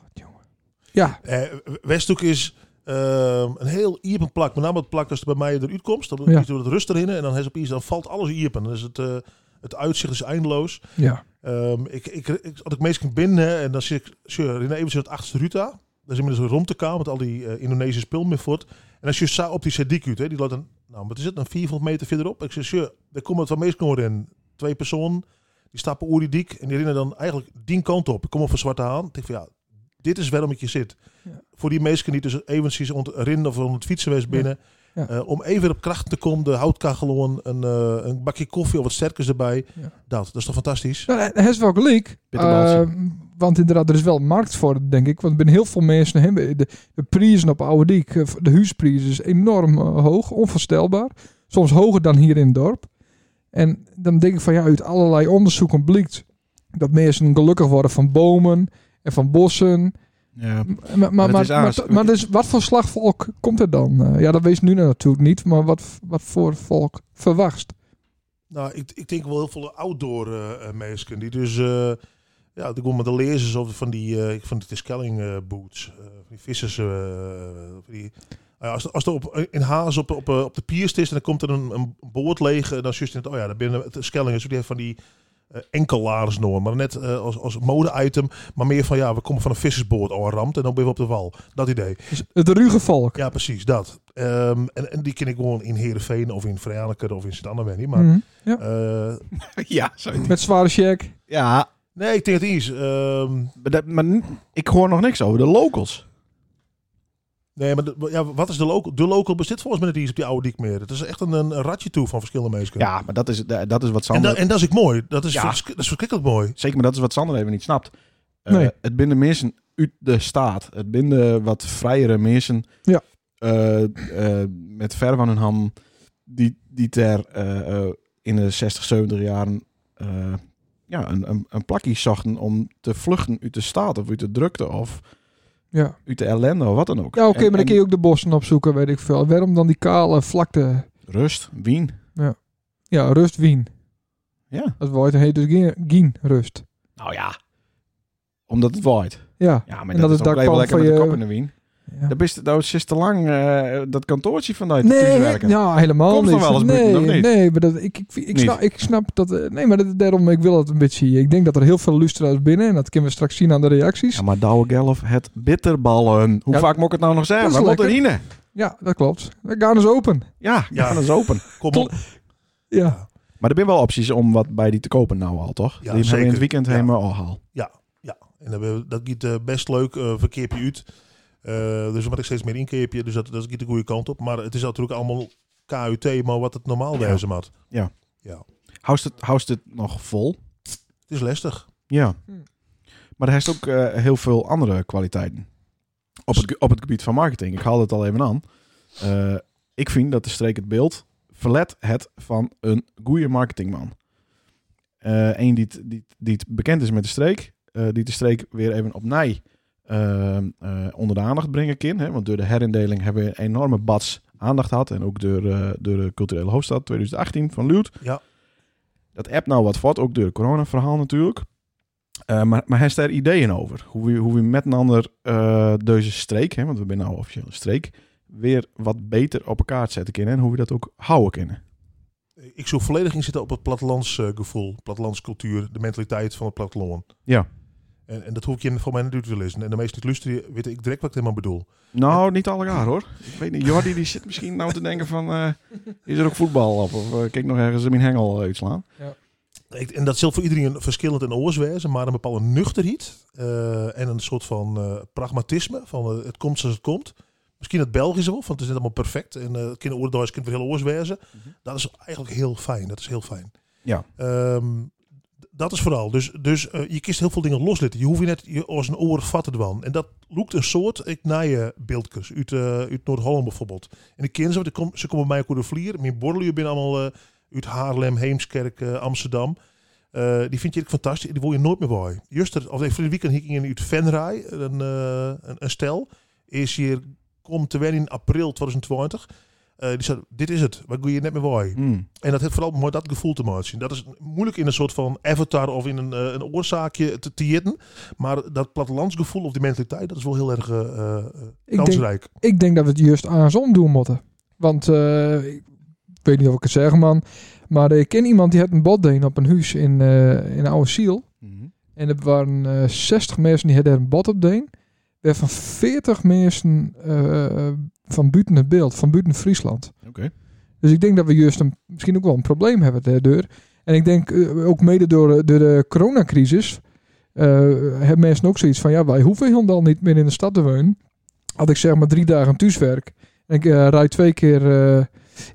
Speaker 2: ja,
Speaker 4: Eh, Westhoek is ehm, een heel iepen plak. Met name het plak als het bij mij eruit komt. Dan
Speaker 2: Ja.
Speaker 4: doet het rust erin en dan, is opeens, dan valt alles iepen. Dan is het, eh, het uitzicht is eindeloos.
Speaker 2: ja.
Speaker 4: Ehm, ik, ik, ik, als ik meestal binnen hè, en dan zit ik zie je René even in het achtste ruta. Daar is inmiddels een romtekaal met al die eh, Indonesische spul mee voort. En als je sa- op die Sadiq uit, hè, die loopt dan, nou wat is het, een 400 meter verderop. Ik zeg, sure, daar komt het wel meestal in. Twee personen, die stappen over die dik en die rennen dan eigenlijk die kant op. Ik kom op van Zwarte Haan. Ik denk van ja, dit is waarom ik je zit.
Speaker 2: Ja.
Speaker 4: Voor die mensen die dus eventjes rond rinnen of rond het fietsen was binnen.
Speaker 2: Ja.
Speaker 4: eh, om even op kracht te komen, de houtkachel aan, een, eh, een bakje koffie of wat sterkers erbij.
Speaker 2: Ja.
Speaker 4: Dat, dat is toch fantastisch?
Speaker 2: Nou, hij is wel gelijk.
Speaker 1: Bitterbalsje.
Speaker 2: Eh, want inderdaad, er is wel een markt voor, denk ik. Want er zijn heel veel mensen. hè, De, de prijzen op Oude Diek, eh, de huisprijs is enorm eh, hoog, onvoorstelbaar. Soms hoger dan hier in het dorp. En dan denk ik van ja, uit allerlei onderzoeken blijkt dat mensen gelukkig worden van bomen en van bossen.
Speaker 6: Ja.
Speaker 2: Maar, maar, maar,
Speaker 1: het
Speaker 2: maar,
Speaker 1: is aardig.
Speaker 2: maar dus wat voor slag volk komt er dan? Eh, ja, dat wees nu natuurlijk niet, maar wat, wat voor volk verwacht?
Speaker 4: Nou, ik, ik denk wel heel veel outdoor eh, eh, mensen. Die dus, eh ja, die komen met de lezers of van die, eh van die Tiskelling eh, boots. eh, van die vissers. eh, van die, Ah ja, als, als er op, in Haas op, op, eh, op de pierst is en dan komt er een, een boord leeg. En dan is het, oh ja, daar binnen het Skelling is dus die heeft van die eh, enkelaars noemen. Maar net eh, als, als mode-item. Maar meer van, ja, we komen van een vissersboord. Oh, ramt en dan ben je op de wal. Dat idee.
Speaker 2: Dus het ruige volk.
Speaker 4: Ja, precies, dat. Ehm, en, en die ken ik gewoon in Heerenveen of in Vrijaneken of in Sint-Anne, maar...
Speaker 2: Mhm. ja.
Speaker 4: eh,
Speaker 1: ja, zo.
Speaker 2: Met zware check.
Speaker 1: Ja,
Speaker 4: Nee, ik denk het is. ehm,
Speaker 1: maar, dat- maar n- ik hoor nog niks over de locals.
Speaker 4: nee, maar de- ja, wat is de local? De local bezit volgens mij net iets op die oude dik meer. Het is echt een, een ratje toe van verschillende mensen.
Speaker 1: Ja, maar dat is, dat is wat
Speaker 4: en,
Speaker 1: Sander...
Speaker 4: da- en dat is ik mooi. Dat is,
Speaker 1: Ja.
Speaker 4: vers- dat is verschrikkelijk mooi.
Speaker 1: Zeker, maar dat is wat Sander even niet snapt. Eh,
Speaker 2: Nee.
Speaker 1: Het binden mensen uit de staat. Het binden wat vrijere mensen.
Speaker 2: Ja.
Speaker 1: eh, eh, met ver van hun ham. Die, die ter eh, eh, in de 60, 70 jaren eh, ja, een, een, een plakje zochten om te vluchten uit de staat. Of uit de drukte of
Speaker 2: Ja.
Speaker 1: uit de ellende of wat dan ook.
Speaker 2: Ja, oké,
Speaker 1: En-
Speaker 2: maar dan
Speaker 1: en
Speaker 2: kun je ook de bossen opzoeken, weet ik veel. Waarom dan die kale vlakte?
Speaker 1: Rust, wien.
Speaker 2: Ja, rust Wien.
Speaker 1: Ja.
Speaker 2: Dat wordt heet dus geen- geen rust.
Speaker 1: Nou ja. Omdat het waait.
Speaker 2: Ja.
Speaker 1: Ja, maar
Speaker 2: En
Speaker 1: dat,
Speaker 2: dat is
Speaker 1: is toch
Speaker 2: daar
Speaker 1: wel
Speaker 2: kwam
Speaker 1: lekker
Speaker 2: van
Speaker 1: met de
Speaker 2: je-
Speaker 1: kop in de wien.
Speaker 2: Ja.
Speaker 1: Daar is daar is te lang eh, dat kantoortje vanuit
Speaker 2: Nee,
Speaker 1: werken.
Speaker 2: ja, helemaal
Speaker 1: Komt er
Speaker 2: niet.
Speaker 1: wel eens
Speaker 2: nee,
Speaker 1: buiten, of niet?
Speaker 2: nee, maar dat, ik, ik, ik,
Speaker 1: Niet.
Speaker 2: snap, ik snap dat. eh, Nee, maar dat, daarom, ik wil dat een beetje. Ik denk dat er heel veel lustra's binnen en dat kunnen we straks zien aan de reacties.
Speaker 1: Ja, maar Douwe Gelf, het bitterballen. Hoe
Speaker 2: Ja.
Speaker 1: vaak moet ik het nou nog zeggen?
Speaker 2: Dat
Speaker 1: Waar
Speaker 2: is
Speaker 1: moet er
Speaker 2: lekker.
Speaker 1: heen?
Speaker 2: Ja, dat klopt. We gaan eens open.
Speaker 1: Ja,
Speaker 4: Ja.
Speaker 1: ja, dat is open.
Speaker 4: Kom
Speaker 2: Klopt.
Speaker 4: op.
Speaker 2: Ja,
Speaker 1: Maar er zijn wel opties om wat bij die te kopen nou al, toch? die hebben we in
Speaker 4: zeker.
Speaker 1: het weekend
Speaker 4: Ja.
Speaker 1: helemaal al haal.
Speaker 4: Ja, en dan, hebben we- dat giet eh, best leuk. eh verkeerpje uit. Eh, dus er moet ik steeds meer inkeerpje. Dus dat, dat giet de goede kant op. Maar het is natuurlijk allemaal KUT, maar wat het normaal
Speaker 1: Ja.
Speaker 4: wezen had.
Speaker 1: Houst het, houst het nog vol?
Speaker 4: Het is lastig.
Speaker 1: Ja.
Speaker 2: Hm.
Speaker 1: Maar er heeft ook eh, heel veel andere kwaliteiten. Op het, ge- op het gebied van marketing. Ik haal het al even aan. Eh, ik vind dat de streek het beeld verlet het van een goede marketingman. Eh Eén die, het- die, het- die het bekend is met de streek. eh, die de streek weer even op nij eh, eh, onder de aandacht brengen kan. Hè? Want door de herindeling hebben we een enorme bats aandacht gehad. En ook door, eh, door de culturele hoofdstad 2018 van Luut.
Speaker 4: Ja.
Speaker 1: Dat app nou wat vat, ook door het corona-verhaal natuurlijk. Eh, maar, maar heeft daar ideeën over? Hoe we, hoe we met een ander eh, deze streek, hè, want we zijn nou officieel een streek, weer wat beter op elkaar te zetten kunnen. En hoe we dat ook houden kunnen.
Speaker 4: Ik zou volledig in zitten op het plattelands eh, gevoel, plattelandscultuur, de mentaliteit van het platteland.
Speaker 1: Ja.
Speaker 4: En, en dat hoef ik je voor mij natuurlijk te lezen. En de meeste niet luisteren, weet ik direct wat ik helemaal bedoel.
Speaker 1: Nou, niet alle jaar hoor. Ik weet niet, Jordi die zit misschien nou te denken van, eh, is er ook voetbal op? Of eh, kijk nog ergens in mijn hengel eh, uitslaan.
Speaker 4: Ik- En dat zal voor iedereen verschillend en oors wezen, maar een bepaalde nuchterheid eh, en een soort van eh, pragmatisme van eh, het komt zoals het komt. Misschien het Belgische wel, want het is net allemaal perfect en eh, het kinderoordeels kind weer heel oors wezen. Dat is eigenlijk heel fijn, dat is heel fijn.
Speaker 1: Ja.
Speaker 4: Ehm, d- dat is vooral. Dus, dus eh, je kiest heel veel dingen loslitten. Je hoeft je net je als een oor vatten dwan. En dat loekt een soort, ik na je beeldkes uit, eh, uit Noord-Holland bijvoorbeeld. En ik ken ze, want ik kom, ze komen bij mij ook door de vlier. Mijn borrelen binnen allemaal eh, uit Haarlem, Heemskerk, eh, Amsterdam. Eh, die vind je echt fantastisch. Die wil je nooit meer bij. Juster, of nee, van het weekend hing ik in uit Venray, een, eh, een, een stel. Is hier, komt te wennen in april 2020. Eh, die zei, dit is het. Wat doe je net meer bij?
Speaker 1: Hmm.
Speaker 4: En dat heeft vooral mooi dat gevoel te maken. Dat is moeilijk in een soort van avatar of in een, eh, een oorzaakje te, te jitten. Maar dat plattelandsgevoel of die mentaliteit, dat is wel heel erg eh, eh,
Speaker 2: ik denk,
Speaker 4: kansrijk.
Speaker 2: ik denk dat we het juist andersom doen moeten. Want eh, ik weet niet of ik het zeg, man. Maar ik ken iemand die had een botdeen op een huis in, eh in Oude Ziel. En er waren eh, 60 mensen die hadden er een bot op deen. Waarvan 40 mensen eh, eh, van buiten het beeld, van buiten Friesland.
Speaker 1: Oké.
Speaker 2: Dus ik denk dat we juist een, misschien ook wel een probleem hebben daardoor. En ik denk eh, ook mede door, eh, door de coronacrisis. eh, eh, hebben mensen ook zoiets van, ja, wij hoeven helemaal niet meer in de stad te wonen. Had ik zeg maar drie dagen thuiswerk. En ik eh rijd twee keer eh,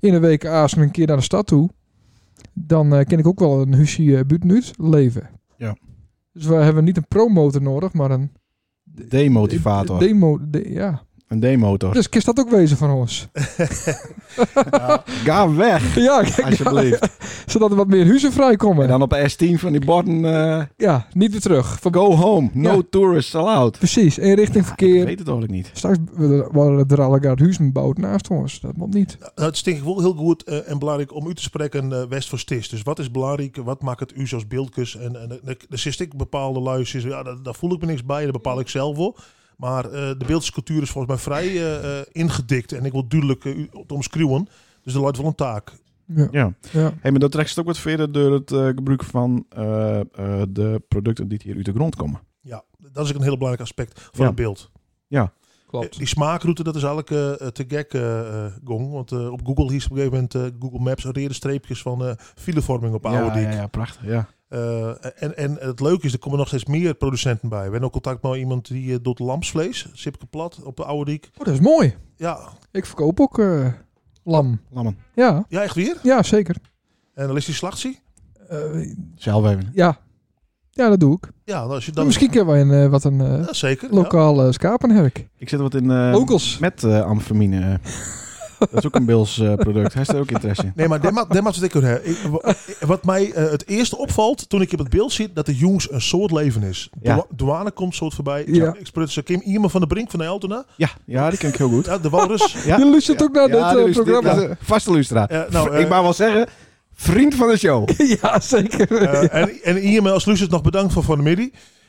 Speaker 2: in een week aas en een keer naar de stad toe. Dan eh kan ik ook wel een huisje eh, buiten uit leven.
Speaker 1: Ja.
Speaker 2: Dus we hebben niet een promotor nodig, maar een
Speaker 1: Demotivator.
Speaker 2: demo. de- ja.
Speaker 1: een demotor.
Speaker 2: Dus kist dat ook wezen van ons.
Speaker 1: Ga weg,
Speaker 2: ja, kijk,
Speaker 1: alsjeblieft.
Speaker 2: zodat er wat meer huizen vrijkomen.
Speaker 1: En dan op S10 van die borden... eh,
Speaker 2: Ja, niet weer terug. Van-
Speaker 1: go home, no
Speaker 2: Ja.
Speaker 1: tourists allowed.
Speaker 2: Precies, in richting
Speaker 1: Ik
Speaker 2: verkeer.
Speaker 1: weet het eigenlijk niet.
Speaker 2: Straks worden er al een huizen gebouwd naast ons. Dat moet niet.
Speaker 4: Nou, het is denk ik wel heel goed eh, en belangrijk om u te spreken eh, West voor Stis. Dus wat is belangrijk? Wat maakt het u zoals beeldkus? En, en eh, er zit ik bepaalde luisters. Ja, daar, daar voel ik me niks bij. Dat bepaal ik zelf wel. Maar eh, de beeldcultuur is volgens mij vrij eh, eh, ingedikt. En ik wil duidelijk eh, u het omschreeuwen. Dus er luidt wel een taak.
Speaker 2: Ja.
Speaker 1: Ja.
Speaker 2: Ja.
Speaker 1: Hey, maar dat trekt het ook wat verder door het eh, gebruik van eh, eh, de producten die hier uit de grond komen.
Speaker 4: Ja, dat is ook een heel belangrijk aspect van
Speaker 1: Ja.
Speaker 4: het beeld.
Speaker 2: Klopt.
Speaker 4: Eh, Die smaakroute, dat is eigenlijk eh, eh, te gek eh, eh, gong. Want eh, op Google hier is op een gegeven moment eh, Google Maps reden streepjes van eh, filevorming op oude
Speaker 1: ja, ja, ja, prachtig. Ja.
Speaker 4: Eh, en, en het leuke is, er komen nog steeds meer producenten bij. We hebben ook contact met iemand die eh, doet lamsvlees, Sipke Plat, op de Oude Diek.
Speaker 2: Oh, dat is mooi.
Speaker 4: Ja,
Speaker 2: Ik verkoop ook eh, lam.
Speaker 1: Lammen.
Speaker 2: Ja,
Speaker 4: ja, echt weer.
Speaker 2: ja zeker.
Speaker 4: En dan is die slachtie.
Speaker 2: Eh,
Speaker 1: Zelf even.
Speaker 2: ja. ja, dat doe ik.
Speaker 4: Ja, nou, als je dan...
Speaker 2: Misschien kunnen wij een, eh, wat een eh,
Speaker 4: Ja, zeker. ja.
Speaker 2: lokaal eh, schapenherk.
Speaker 1: Ik zit wat in eh,
Speaker 2: Locals.
Speaker 1: met eh, amfamine. eh. dat is ook een Bills eh, product. Hij is er ook interesse in.
Speaker 4: Nee, maar dat ma- dat maakt wat ik er heb. Ik- wa- Wat mij eh, het eerste opvalt toen ik op het beeld zit, dat de jongens een soort leven is.
Speaker 1: Ja.
Speaker 4: Dou- douane komt soort voorbij.
Speaker 2: Ja.
Speaker 4: Ik sprut ze Kim iemand van de brink van de Eltona.
Speaker 1: Ja, ja, die ken ik heel goed.
Speaker 4: Ja, de Walrus.
Speaker 1: Ja.
Speaker 2: Je luistert ook naar dit eh,
Speaker 1: dit is- dit
Speaker 2: programma.
Speaker 1: is een vaste luisteraar.
Speaker 4: Eh, nou, eh,
Speaker 1: ik mag wel zeggen, vriend van de show.
Speaker 2: ja, zeker.
Speaker 4: Eh, en, en Ian als Lucius nog bedankt voor van de middag.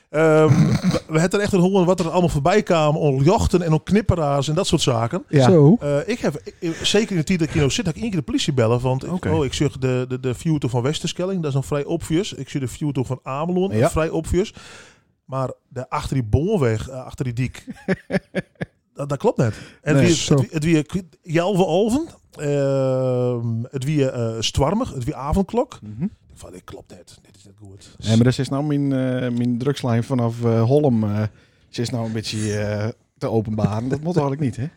Speaker 4: Ehm, we- we hebben er echt een honger wat er allemaal voorbij kwam. Om jochten en om knipperaars en dat soort zaken.
Speaker 1: Ja.
Speaker 2: Zo.
Speaker 4: Eh, ik heb ik- ik- zeker in de tijd dat ik hier nou zit, dat ik één keer de politie bellen. Want ik-
Speaker 1: Oké.
Speaker 4: oh, ik zeg de, de, de view van Westerskelling, dat is nog vrij obvious. Ik zie de view van Amelon,
Speaker 1: Ja.
Speaker 4: vrij obvious. Maar de, achter die boomweg, eh, achter die diek, dat, dat klopt net. En
Speaker 1: Nee,
Speaker 4: het wie-
Speaker 2: zo.
Speaker 4: het wie- het wie kwit- Jelve Alven, ehm, het wie eh Stwarmig, het wie Avondklok.
Speaker 1: Mhm.
Speaker 4: Ik van, dit klopt net, dit is net goed.
Speaker 1: Ja, maar dat is nou mijn, eh, mijn drugslijn vanaf eh, Holm. eh, ze is nou een beetje eh, te openbaren. Dat moet eigenlijk niet, hè?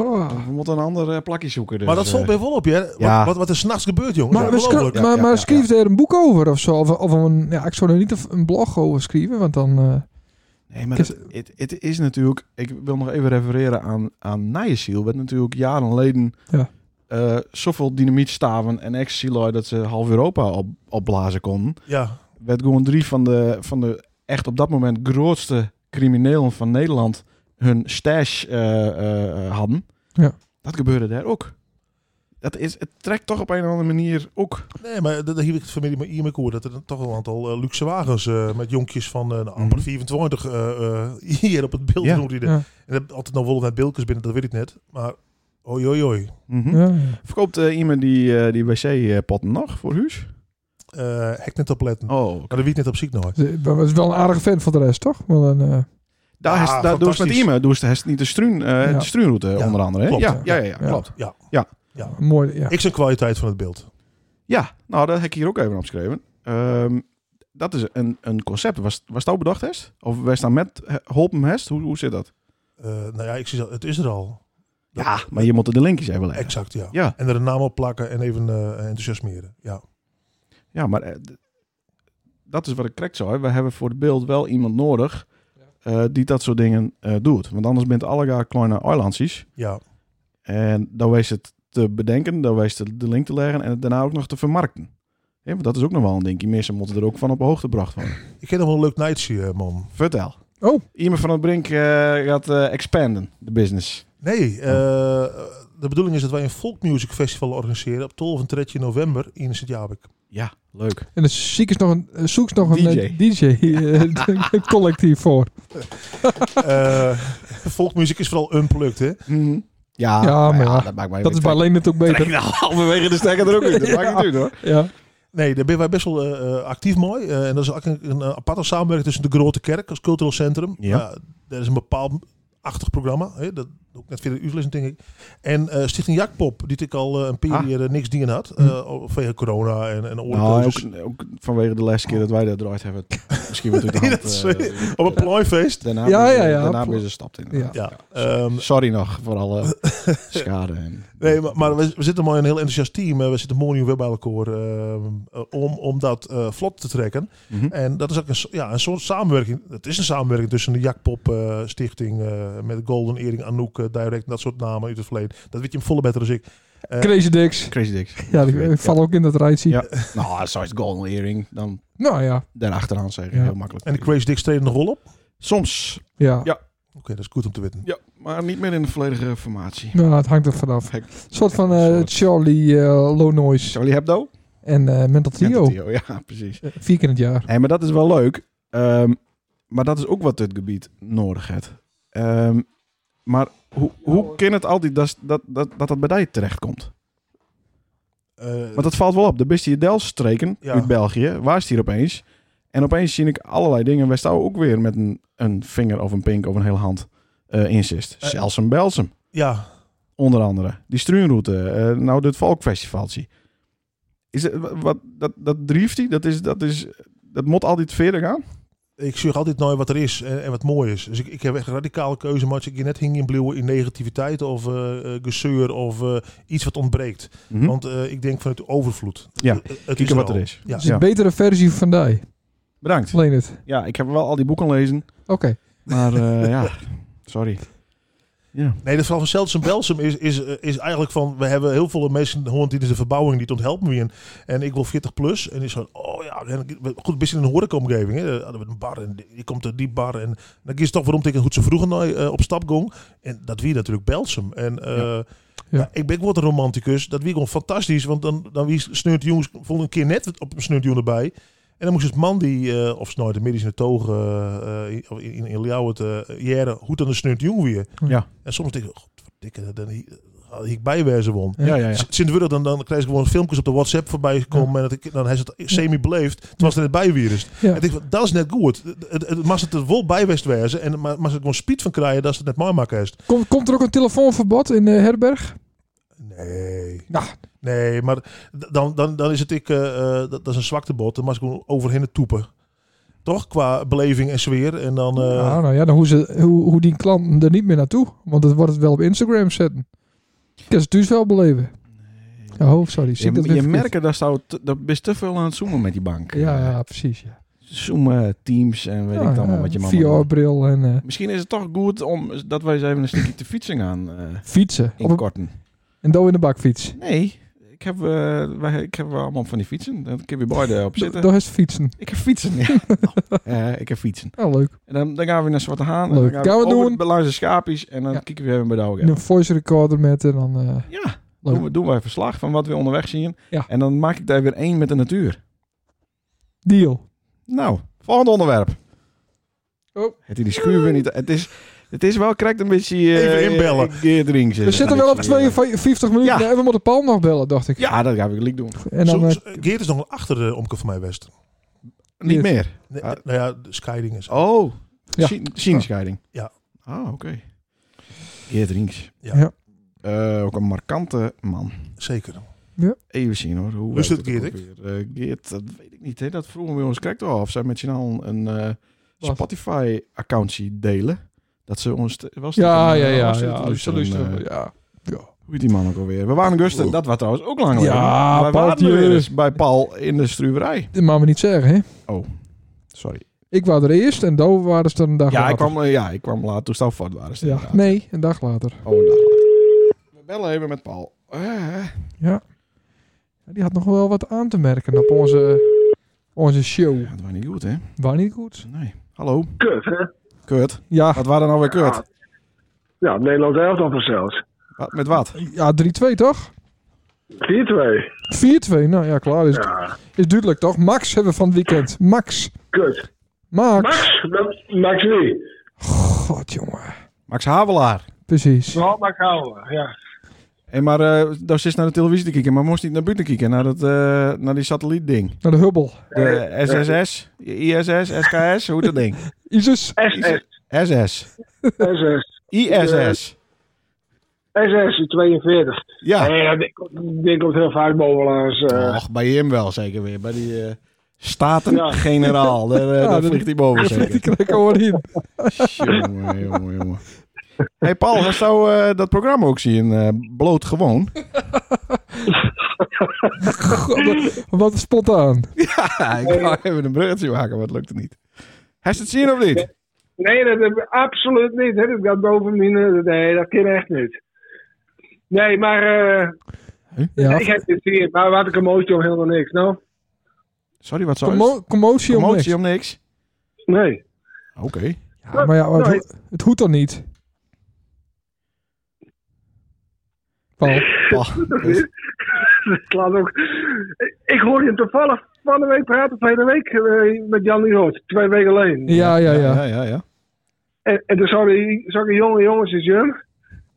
Speaker 2: Oh.
Speaker 1: We moeten een ander eh, plakje zoeken. Dus,
Speaker 4: Maar dat
Speaker 1: eh,
Speaker 4: valt bij volop, hè? Wat,
Speaker 1: ja.
Speaker 4: wat, wat er s'nachts gebeurt, jongen.
Speaker 2: Maar, we
Speaker 4: Ongelooflijk.
Speaker 2: schri-
Speaker 1: Ja,
Speaker 2: maar,
Speaker 1: ja,
Speaker 2: maar
Speaker 1: ja,
Speaker 2: schreef er een boek over of zo? Of, of een, ja, ik zou er niet een- een blog over schrijven, want dan... eh,
Speaker 1: Nee, maar
Speaker 2: Kijk,
Speaker 1: het, het, het is natuurlijk... Ik wil nog even refereren aan, aan Nijensiel. Werd natuurlijk jaren geleden
Speaker 2: Ja.
Speaker 1: eh, zoveel dynamietstaven en ex dat ze half Europa op, opblazen konden.
Speaker 4: Ja,
Speaker 1: Werd gewoon drie van de, van de echt op dat moment grootste criminelen van Nederland hun stash eh, eh, eh, hadden.
Speaker 2: Ja.
Speaker 1: Dat gebeurde daar ook. Dat is, het trekt toch op een of andere manier ook.
Speaker 4: nee, maar dat dat hier ik het familie met Iermek hoor. Dat er dan toch wel een aantal eh, luxe wagens eh, met jonkjes van eh nou, amper
Speaker 1: Mhm.
Speaker 4: 24 eh, eh, hier op het beeld
Speaker 1: Ja.
Speaker 4: doen die de-
Speaker 2: Ja.
Speaker 4: En dat altijd nog wel naar beeldjes binnen, dat weet ik net. Maar oi, oi, oi.
Speaker 1: Mhm.
Speaker 2: ja, ja.
Speaker 1: Verkoopt eh, iemand die, eh, die wc-potten nog voor huis?
Speaker 4: Eh, hek net op letten.
Speaker 1: Oh,
Speaker 4: Maar dat weet ik net op ziek nog.
Speaker 2: Ze- maar het is wel een aardige vent van de rest, toch? Want dan, eh,
Speaker 1: Daar,
Speaker 4: Ja,
Speaker 1: is, daar doe je het met
Speaker 4: fantastisch.
Speaker 1: Iemen. Doe je het niet de, struun, eh,
Speaker 2: Ja.
Speaker 1: de struunroute
Speaker 4: Ja,
Speaker 1: onder andere. hè?
Speaker 4: klopt.
Speaker 1: Ja, ja, ja, ja,
Speaker 2: Ja.
Speaker 1: klopt.
Speaker 2: een mooi, ja.
Speaker 4: Ik zijn kwaliteit van het beeld.
Speaker 1: Ja, nou, dat heb ik hier ook even opgeschreven. Ehm, dat is een, een concept. Was, was dat bedacht, Hest? Of wij staan met eh, Holpen Hest? Hoe, hoe zit dat?
Speaker 4: Eh, nou ja, ik zie dat, het is er al. Dat-
Speaker 1: Ja, maar je moet er de linkjes even leggen.
Speaker 4: Exact, ja.
Speaker 1: Ja.
Speaker 4: En er een naam op plakken en even eh, enthousiasmeren. Ja.
Speaker 1: Ja, maar eh, d- dat is wat ik correct zou. We hebben voor het beeld wel iemand nodig eh, die dat soort dingen eh, doet. Want anders bent allegaar kleine eilandjes.
Speaker 4: ja.
Speaker 1: En dan wees het te bedenken, dan wees het de link te leggen en het daarna ook nog te vermarkten. Hè, want dat is ook nog wel een dingje. Mensen moeten er ook van op hoogte gebracht worden.
Speaker 4: Ik ken nog wel een leuk nightje, eh, man.
Speaker 1: Vertel.
Speaker 2: Oh.
Speaker 1: Iemand van het Brink eh, gaat eh, expanden, de business.
Speaker 4: Nee, eh, de bedoeling is dat wij een folkmusic festival organiseren op 12 en 13 november in Sint-Jabik.
Speaker 1: Ja, leuk.
Speaker 2: En dan ziek is nog een, eh, zoek is nog een eh, DJ, eh, collectief voor.
Speaker 4: Eh folkmuziek is vooral unplugged, hè?
Speaker 1: Mhm. Ja, maar
Speaker 2: Ja, maar ja,
Speaker 1: dat maakt mij
Speaker 2: Dat is bij alleen het ook beter.
Speaker 1: halverwege de stekker er ook in. Dat maakt niet uit hoor.
Speaker 2: Ja.
Speaker 4: Nee, daar ben wij best wel eh, eh, actief mooi. Eh, en dat is ook een, een aparte samenwerking tussen de Grote Kerk als cultureel centrum.
Speaker 1: Ja.
Speaker 4: Nou, dat is een bepaald achtig programma. Hè? Dat, doe ik net verder uitlezen, denk ik. En eh, Stichting Jakpop, die ik al eh, een periode niks dingen had.
Speaker 2: Hm.
Speaker 4: eh, vanwege corona en, en
Speaker 1: Nou,
Speaker 4: oorlog.
Speaker 1: ook, ook vanwege de laatste keer dat wij dat draait hebben. Misschien wordt het de
Speaker 4: Nee,
Speaker 1: hand,
Speaker 4: dat is-
Speaker 1: eh,
Speaker 4: op een plooifeest.
Speaker 1: Daarna
Speaker 2: Ja,
Speaker 1: ben je-
Speaker 2: ja, ja.
Speaker 1: Daarna ben je stapt in.
Speaker 2: Ja.
Speaker 4: Ja, ehm,
Speaker 1: Sorry nog voor alle schade. En...
Speaker 4: Nee, maar, maar we, we zitten maar in een heel enthousiast team. Eh, We zitten morgen weer bij elkaar eh, eh, om, om dat eh, vlot te trekken.
Speaker 1: Mhm.
Speaker 4: En dat is ook een, so- ja, een soort samenwerking. Het is een samenwerking tussen de Jakpop eh, Stichting eh, met Golden Earring, Anouk, eh, Direct, en dat soort namen uit het verleden. Dat weet je hem volle beter dan ik.
Speaker 2: Crazy Dicks.
Speaker 1: Crazy Dicks.
Speaker 2: Ja, die eh, vallen ook in dat rijtje.
Speaker 1: Ja. Nou, zoals Golden Earring. Dan
Speaker 2: Nou ja,
Speaker 1: daarachteraan zeggen.
Speaker 2: Ja.
Speaker 1: Heel makkelijk.
Speaker 4: En de Crazy Dicks treden nog rol op. Oké,
Speaker 1: Soms.
Speaker 2: ja.
Speaker 1: Ja.
Speaker 4: dat is goed om te weten.
Speaker 1: Ja, maar niet meer in de volledige formatie.
Speaker 2: Nou, het hangt er vanaf.
Speaker 1: Hek.
Speaker 2: Een soort van
Speaker 1: Een
Speaker 2: eh,
Speaker 1: soort-
Speaker 2: Charlie eh, Low Noise
Speaker 1: Charlie Hebdo?
Speaker 2: en eh Mental Theo.
Speaker 1: Ja, Theo, Ja, precies.
Speaker 2: Eh, Vier keer in het jaar.
Speaker 1: Hé, maar dat is wel leuk. Ehm, maar dat is ook wat dit gebied nodig heeft. Ehm, maar hoe, hoe kan het altijd dat dat, dat, dat, dat bij die terechtkomt?
Speaker 4: Eh,
Speaker 1: Want dat valt wel op. De beste Jedel-streken
Speaker 4: Ja.
Speaker 1: uit België, waar is die opeens? En opeens zie ik allerlei dingen. Wij staan ook weer met een, een vinger of een pink of een hele hand eh insist.
Speaker 4: Eh.
Speaker 1: Zelfs een Belsum,
Speaker 4: ja,
Speaker 1: onder andere. Die struinroute, eh, nou dit volkfestivaltje. Is het, wa- wat, dat, dat drieft die, dat is, dat is, dat moet altijd verder gaan.
Speaker 4: ik zie altijd nooit wat er is en, en wat mooi is. Dus ik, ik heb echt een radicale keuze. Maar als ik je net hing in blauwe in negativiteit of eh eh, gezeur of eh, iets wat ontbreekt.
Speaker 1: Mhm.
Speaker 4: Want eh, ik denk vanuit de overvloed.
Speaker 1: Ja,
Speaker 4: Eh, het
Speaker 1: Kijken wat
Speaker 4: al.
Speaker 1: er is.
Speaker 4: Ja.
Speaker 2: Dus een betere versie van die.
Speaker 1: Bedankt.
Speaker 2: Alleen het. Oké.
Speaker 1: Ja, ik heb wel al die boeken lezen, maar eh, ja, sorry.
Speaker 4: Nee, dat verhaal van Celtics en Belsum is, is, eh, is eigenlijk van... We hebben heel veel mensen horen die is de verbouwing, die het onthelpt me weer. En ik wil 40 plus. En is van, oh ja, en ik- goed, een beetje in een horecaomgeving. Hè. Eh, Hadden we een bar en die- je komt er die bar. En dan kies toch waarom ik goed zo vroeger nou, eh, op stap ging. En dat wie natuurlijk Belsum. En eh, ja.
Speaker 2: Ja.
Speaker 4: ik ben ook wat een romanticus. Dat wie gewoon fantastisch. Want dan, dan wie sneurt die jongens volgende een keer net op een sneurt die jongen erbij. En dan moest het man die, eh, of snijden midden in de togen, eh, eh, in, in, in Ljouwert, eh, jaren, hoe dan een sneurt jong weer.
Speaker 1: Ja.
Speaker 4: En soms denk ik, godverdikke, dan hi- had ik bijwijzen won.
Speaker 1: Ja, ja, ja.
Speaker 4: Sinds we dat dan, dan krijg ik gewoon filmpjes op de WhatsApp voorbij gekomen. En dat ik, dan is het semi-beleefd. Toen was er net bijwierst.
Speaker 2: Ja.
Speaker 4: En ik denk, dat is net goed. Het, het, het mag het er wel bijwest wezen. En maar mag ze er gewoon speed van krijgen dat ze het net mooi maken is.
Speaker 2: Komt, komt er ook een telefoonverbod in eh, Herberg?
Speaker 4: Nee.
Speaker 2: Nou.
Speaker 4: Nee, maar d- dan, dan, dan is het ik, eh, eh, dat, dat is een zwaktebod. Dan mag ik gewoon overheen het toepen. Toch? Qua beleving en sfeer. En dan... eh,
Speaker 2: Ja, nou ja, dan hoe, ze, hoe, hoe die klanten er niet meer naartoe. Want dat wordt het wel op Instagram zetten. Ik kan ze thuis wel beleven. Oh, sorry. Zie ik dat
Speaker 1: Je, je
Speaker 2: weer verkeerd?
Speaker 1: merkt dat zou te- dat is te veel aan het zoomen met die bank.
Speaker 2: Ja,
Speaker 1: Eh,
Speaker 2: ja, precies. Ja. Ah,
Speaker 1: Zoomen, Teams en weet ik dan wel wat je man moet doen.
Speaker 2: VR-bril en eh,
Speaker 1: Misschien is het toch goed om dat wij eens even een stukje te fietsen gaan eh
Speaker 2: fietsen. Op een,
Speaker 1: inkorten.
Speaker 2: en dan in de bakfiets.
Speaker 1: Nee, ik heb, eh, wij, ik heb wel allemaal van die fietsen. Daar heb je beide op zitten.
Speaker 2: Daar is fietsen.
Speaker 1: ik heb fietsen, ja. Nou, eh, ik heb fietsen.
Speaker 2: Nou, leuk.
Speaker 1: En dan, dan gaan we naar Zwarte Haan. En
Speaker 2: Leuk.
Speaker 1: dan gaan we,
Speaker 2: Gaan we
Speaker 1: over
Speaker 2: doen.
Speaker 1: de Belangrijk schapies. En dan
Speaker 2: Ja.
Speaker 1: kijken we even bij de oude.
Speaker 2: Een voice recorder met en dan... eh,
Speaker 1: Ja.
Speaker 2: leuk.
Speaker 1: Doen, we, doen wij verslag van wat we onderweg zien.
Speaker 2: Ja.
Speaker 1: En dan maak ik daar weer één met de natuur.
Speaker 2: Deal.
Speaker 1: Nou, volgend onderwerp.
Speaker 2: Oh.
Speaker 1: Het is die schuur weer niet. Het is, het is wel correct een beetje. eh,
Speaker 4: Even inbellen.
Speaker 1: eh, keer erin zitten.
Speaker 2: We zitten wel op
Speaker 1: Ja.
Speaker 2: 52 minuten
Speaker 1: Ja.
Speaker 2: en we moeten Paul nog bellen, dacht ik.
Speaker 1: Ja, dat ga ik liek doen.
Speaker 2: En dan,
Speaker 4: zo-
Speaker 2: eh,
Speaker 4: zo- Geert is nog een achter de omke van mij west.
Speaker 1: Niet
Speaker 2: Yes.
Speaker 1: meer.
Speaker 4: Nee,
Speaker 1: Ah.
Speaker 4: Nou ja, de scheiding is.
Speaker 1: Oh,
Speaker 2: Ja.
Speaker 1: Sien- Sienscheiding.
Speaker 4: Ja.
Speaker 1: Ah, oké. Geert Rinks.
Speaker 4: Ja.
Speaker 2: Ja.
Speaker 1: Eh, ook een markante man.
Speaker 4: Zeker.
Speaker 1: Even zien hoor. Hoe
Speaker 4: Lust
Speaker 1: heet
Speaker 4: het
Speaker 1: dat
Speaker 4: Geert,
Speaker 1: ook weer? Eh, Geert, dat weet ik niet. Hè? Dat vroegen we ons correct al. Of zij met z'n allen een
Speaker 2: Wat?
Speaker 1: Spotify-accountie delen. Dat ze ons... te- Was
Speaker 2: ja,
Speaker 1: het
Speaker 2: ja,
Speaker 1: een, eh,
Speaker 2: ja.
Speaker 1: was het
Speaker 2: ja,
Speaker 1: een-
Speaker 2: dus
Speaker 1: een, eh,
Speaker 2: luisteren we, ja.
Speaker 1: Hoe heet die man ook alweer? We waren
Speaker 4: Oh.
Speaker 1: Gusten. Dat was trouwens ook lang
Speaker 2: Ja,
Speaker 1: geleden. Wij
Speaker 2: Paul
Speaker 1: waren er weer
Speaker 2: Dieu.
Speaker 1: eens bij Paul in de struwerij.
Speaker 2: Dit mag me niet zeggen, hè.
Speaker 1: Sorry.
Speaker 2: Ik was er eerst en Dover waren ze er een dag
Speaker 1: Ja,
Speaker 2: later.
Speaker 1: ik kwam, eh, ja, ik kwam laat. Toen stond Fort waren ze
Speaker 2: Ja.
Speaker 1: inderdaad.
Speaker 2: Nee, een dag later.
Speaker 1: Oh, een dag later. We bellen even met Paul. Eh,
Speaker 2: Die had nog wel wat aan te merken op onze, onze show.
Speaker 1: ja, dat was niet goed, hè?
Speaker 2: Waar niet goed.
Speaker 1: Nee. Hallo.
Speaker 8: Kut, hè?
Speaker 1: Kut.
Speaker 2: Ja,
Speaker 1: Wat waren nou weer kut?
Speaker 8: Ja, het Nederlands elftal vanzelfs. 4-2.
Speaker 1: Wat, met wat?
Speaker 2: ja 3-2 toch? 4-2, nou ja, klaar. Is,
Speaker 8: Ja,
Speaker 2: is duidelijk toch? Max hebben we van het weekend. Max.
Speaker 8: kut.
Speaker 2: Max.
Speaker 8: Max? Dat- Max wie?
Speaker 2: God, jongen.
Speaker 1: Max Havelaar.
Speaker 2: Precies.
Speaker 8: Nou, Max Houwer, ja.
Speaker 1: Hé, maar eh daar zit naar de televisie te kijken, maar moest niet naar buiten kijken, naar, dat, eh, naar die satellietding.
Speaker 2: Naar de Hubble.
Speaker 1: De SSS, ISS, SKS, hoe dat ding?
Speaker 2: Isus.
Speaker 8: SS.
Speaker 1: SS,
Speaker 8: SS.
Speaker 1: ISS.
Speaker 8: SS 42.
Speaker 1: Ja.
Speaker 8: Nee, ja, die, komt- die komt heel vaak boven als... eh,
Speaker 1: Och, bij hem wel zeker weer. Bij die eh, Staten-generaal. Daar, eh,
Speaker 2: Ja,
Speaker 1: daar
Speaker 2: dat-
Speaker 1: vliegt hij boven
Speaker 2: Die
Speaker 1: zeker.
Speaker 2: krijg ik gewoon in.
Speaker 1: jongen, jongen, jongen. hey Paul, was zou eh, dat programma ook zien? eh, bloot gewoon.
Speaker 2: God, wat- Wat spontaan.
Speaker 1: Ja, ik wou even een bruggetje maken, maar het lukte niet. Hij het zien of niet?
Speaker 8: Nee, dat heb ik absoluut niet. Hè. Dat gaat boven mijn... eh, Nee, dat kan echt niet. Nee, maar eh,
Speaker 2: Ja,
Speaker 8: ik heb dit hier. Maar wat een emotie om helemaal niks. Nou,
Speaker 1: Sorry, wat zou
Speaker 2: commo commotie om niks.
Speaker 1: Commotie om niks.
Speaker 8: nee.
Speaker 1: Oké.
Speaker 2: Ja, maar ja, maar het, ho- het hoeft dan niet. Paul,
Speaker 1: Paul, dus-
Speaker 8: Ik laat ook... Ik hoorde hem toevallig van de week praten, van de week, eh, met Jan Nieuwhoort. Twee weken geleden.
Speaker 2: ja, ja, ja.
Speaker 1: ja, ja, ja.
Speaker 8: En, en toen zag ik zag een jonge jongens in Jum.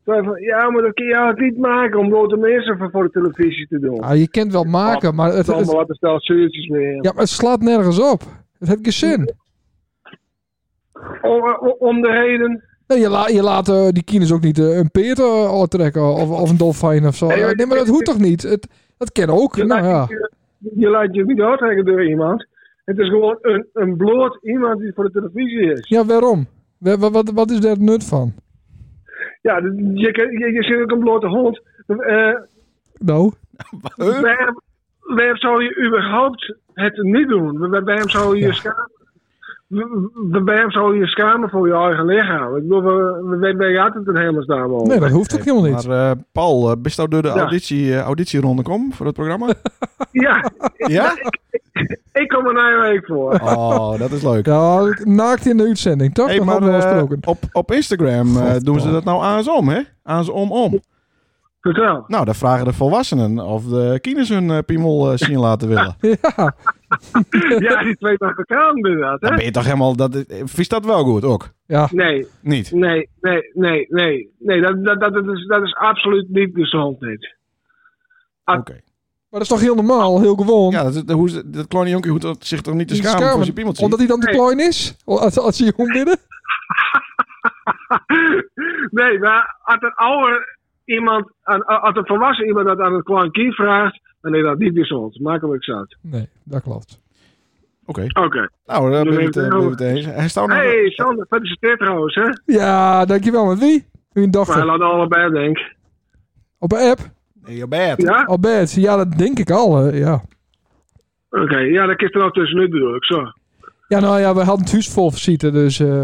Speaker 8: Toen hij van, ja, maar dat kun je eigenlijk niet maken om blote mensen voor, voor de televisie te doen.
Speaker 2: Ah, je kunt wel maken, maar het,
Speaker 8: Het allemaal
Speaker 2: het-
Speaker 8: wat een stel zuurtjes meer.
Speaker 2: ja, maar het slaat nergens op. Het heeft geen zin.
Speaker 8: Om, om- om de reden.
Speaker 2: Nee, je, la- je laat eh, die kines ook niet eh, een peer eh, trekken of, of een dolfijn of zo.
Speaker 8: Nee, hoor,
Speaker 2: Eh, nee, maar dat hoeft toch niet? Het, dat kan ook.
Speaker 8: Je,
Speaker 2: nou ja.
Speaker 8: laat, je, je laat je niet uittrekken door iemand. Het is gewoon een, een bloot iemand die voor de televisie is.
Speaker 2: ja, waarom? Wa- wa- Wat, wat is daar het nut van?
Speaker 8: Ja, d- je, kan- je, je ziet ook een blote hond. Eh
Speaker 2: Nou,
Speaker 8: bij, hem, bij hem zou je überhaupt het niet doen. Bij, bij hem zou je je schamen. Bij- Bij hem zou je je schamen voor je eigen lichaam. Ik bedoel, we- we- wij gaat het een helemaal staan over.
Speaker 2: nee, dat hoeft ook helemaal
Speaker 1: Maar eh,
Speaker 2: niet.
Speaker 1: Paul, eh, bist nou door de
Speaker 8: Ja.
Speaker 1: auditie, eh, auditieronde kom voor dat programma?
Speaker 8: Ja,
Speaker 1: ja?
Speaker 8: ik kom er na een week voor.
Speaker 1: Oh, dat is leuk.
Speaker 2: Ja, naakt in de uitzending, toch?
Speaker 1: Hey,
Speaker 2: dat
Speaker 1: maar
Speaker 2: hadden we
Speaker 1: eh,
Speaker 2: afgesproken.
Speaker 1: op, op Instagram eh, doen ze dat nou aan om, hè? Aan om om.
Speaker 8: Vertel.
Speaker 1: Nou, dan vragen de volwassenen of de kinders hun eh, piemel eh, zien laten willen.
Speaker 2: Ja,
Speaker 8: Ja, die twee dagen elkaar inderdaad,
Speaker 1: Dan
Speaker 8: hè?
Speaker 1: ben je toch helemaal... Dat, is- eh, vies dat wel goed ook?
Speaker 2: ja.
Speaker 8: Nee,
Speaker 1: Niet?
Speaker 8: nee, nee, nee, nee. Nee, dat, dat, dat, dat is, dat is absoluut niet gezond, niet.
Speaker 1: Oké.
Speaker 2: Maar dat is toch heel normaal, heel gewoon.
Speaker 1: Ja, dat, is- hoe, is- dat kleine jonkie hoeft dat zich toch niet te
Speaker 2: Die
Speaker 1: schamen voor
Speaker 2: schermen,
Speaker 1: zijn piemeltje?
Speaker 2: omdat hij dan te
Speaker 8: Nee.
Speaker 2: klein is? Als, als hij jong binnen?
Speaker 8: Nee, maar als een ouder iemand, aan- als een volwassen iemand dat aan een klein kind vraagt, dan is dat niet gezond. Makkelijk zat.
Speaker 2: Nee, dat klopt.
Speaker 1: Oké.
Speaker 8: Oké.
Speaker 1: Nou, daar ben ik het, eh,
Speaker 8: Dan
Speaker 1: ben ik
Speaker 8: ben
Speaker 1: het eens. Hij staat nog...
Speaker 8: Hey, Sander, gefeliciteerd trouwens, hè?
Speaker 2: Ja, dankjewel. Met wie? Uw
Speaker 8: Maar hij
Speaker 2: dochter.
Speaker 8: laat allebei, denk ik.
Speaker 2: Op een app?
Speaker 1: In your bed.
Speaker 8: Ja?
Speaker 2: Albert, ja, dat denk ik al. hè, ja.
Speaker 8: Oké, ja, dat is er al tussenuit bedoel ik, zo.
Speaker 2: ja, nou ja, we hadden het huis vol visite, dus... eh,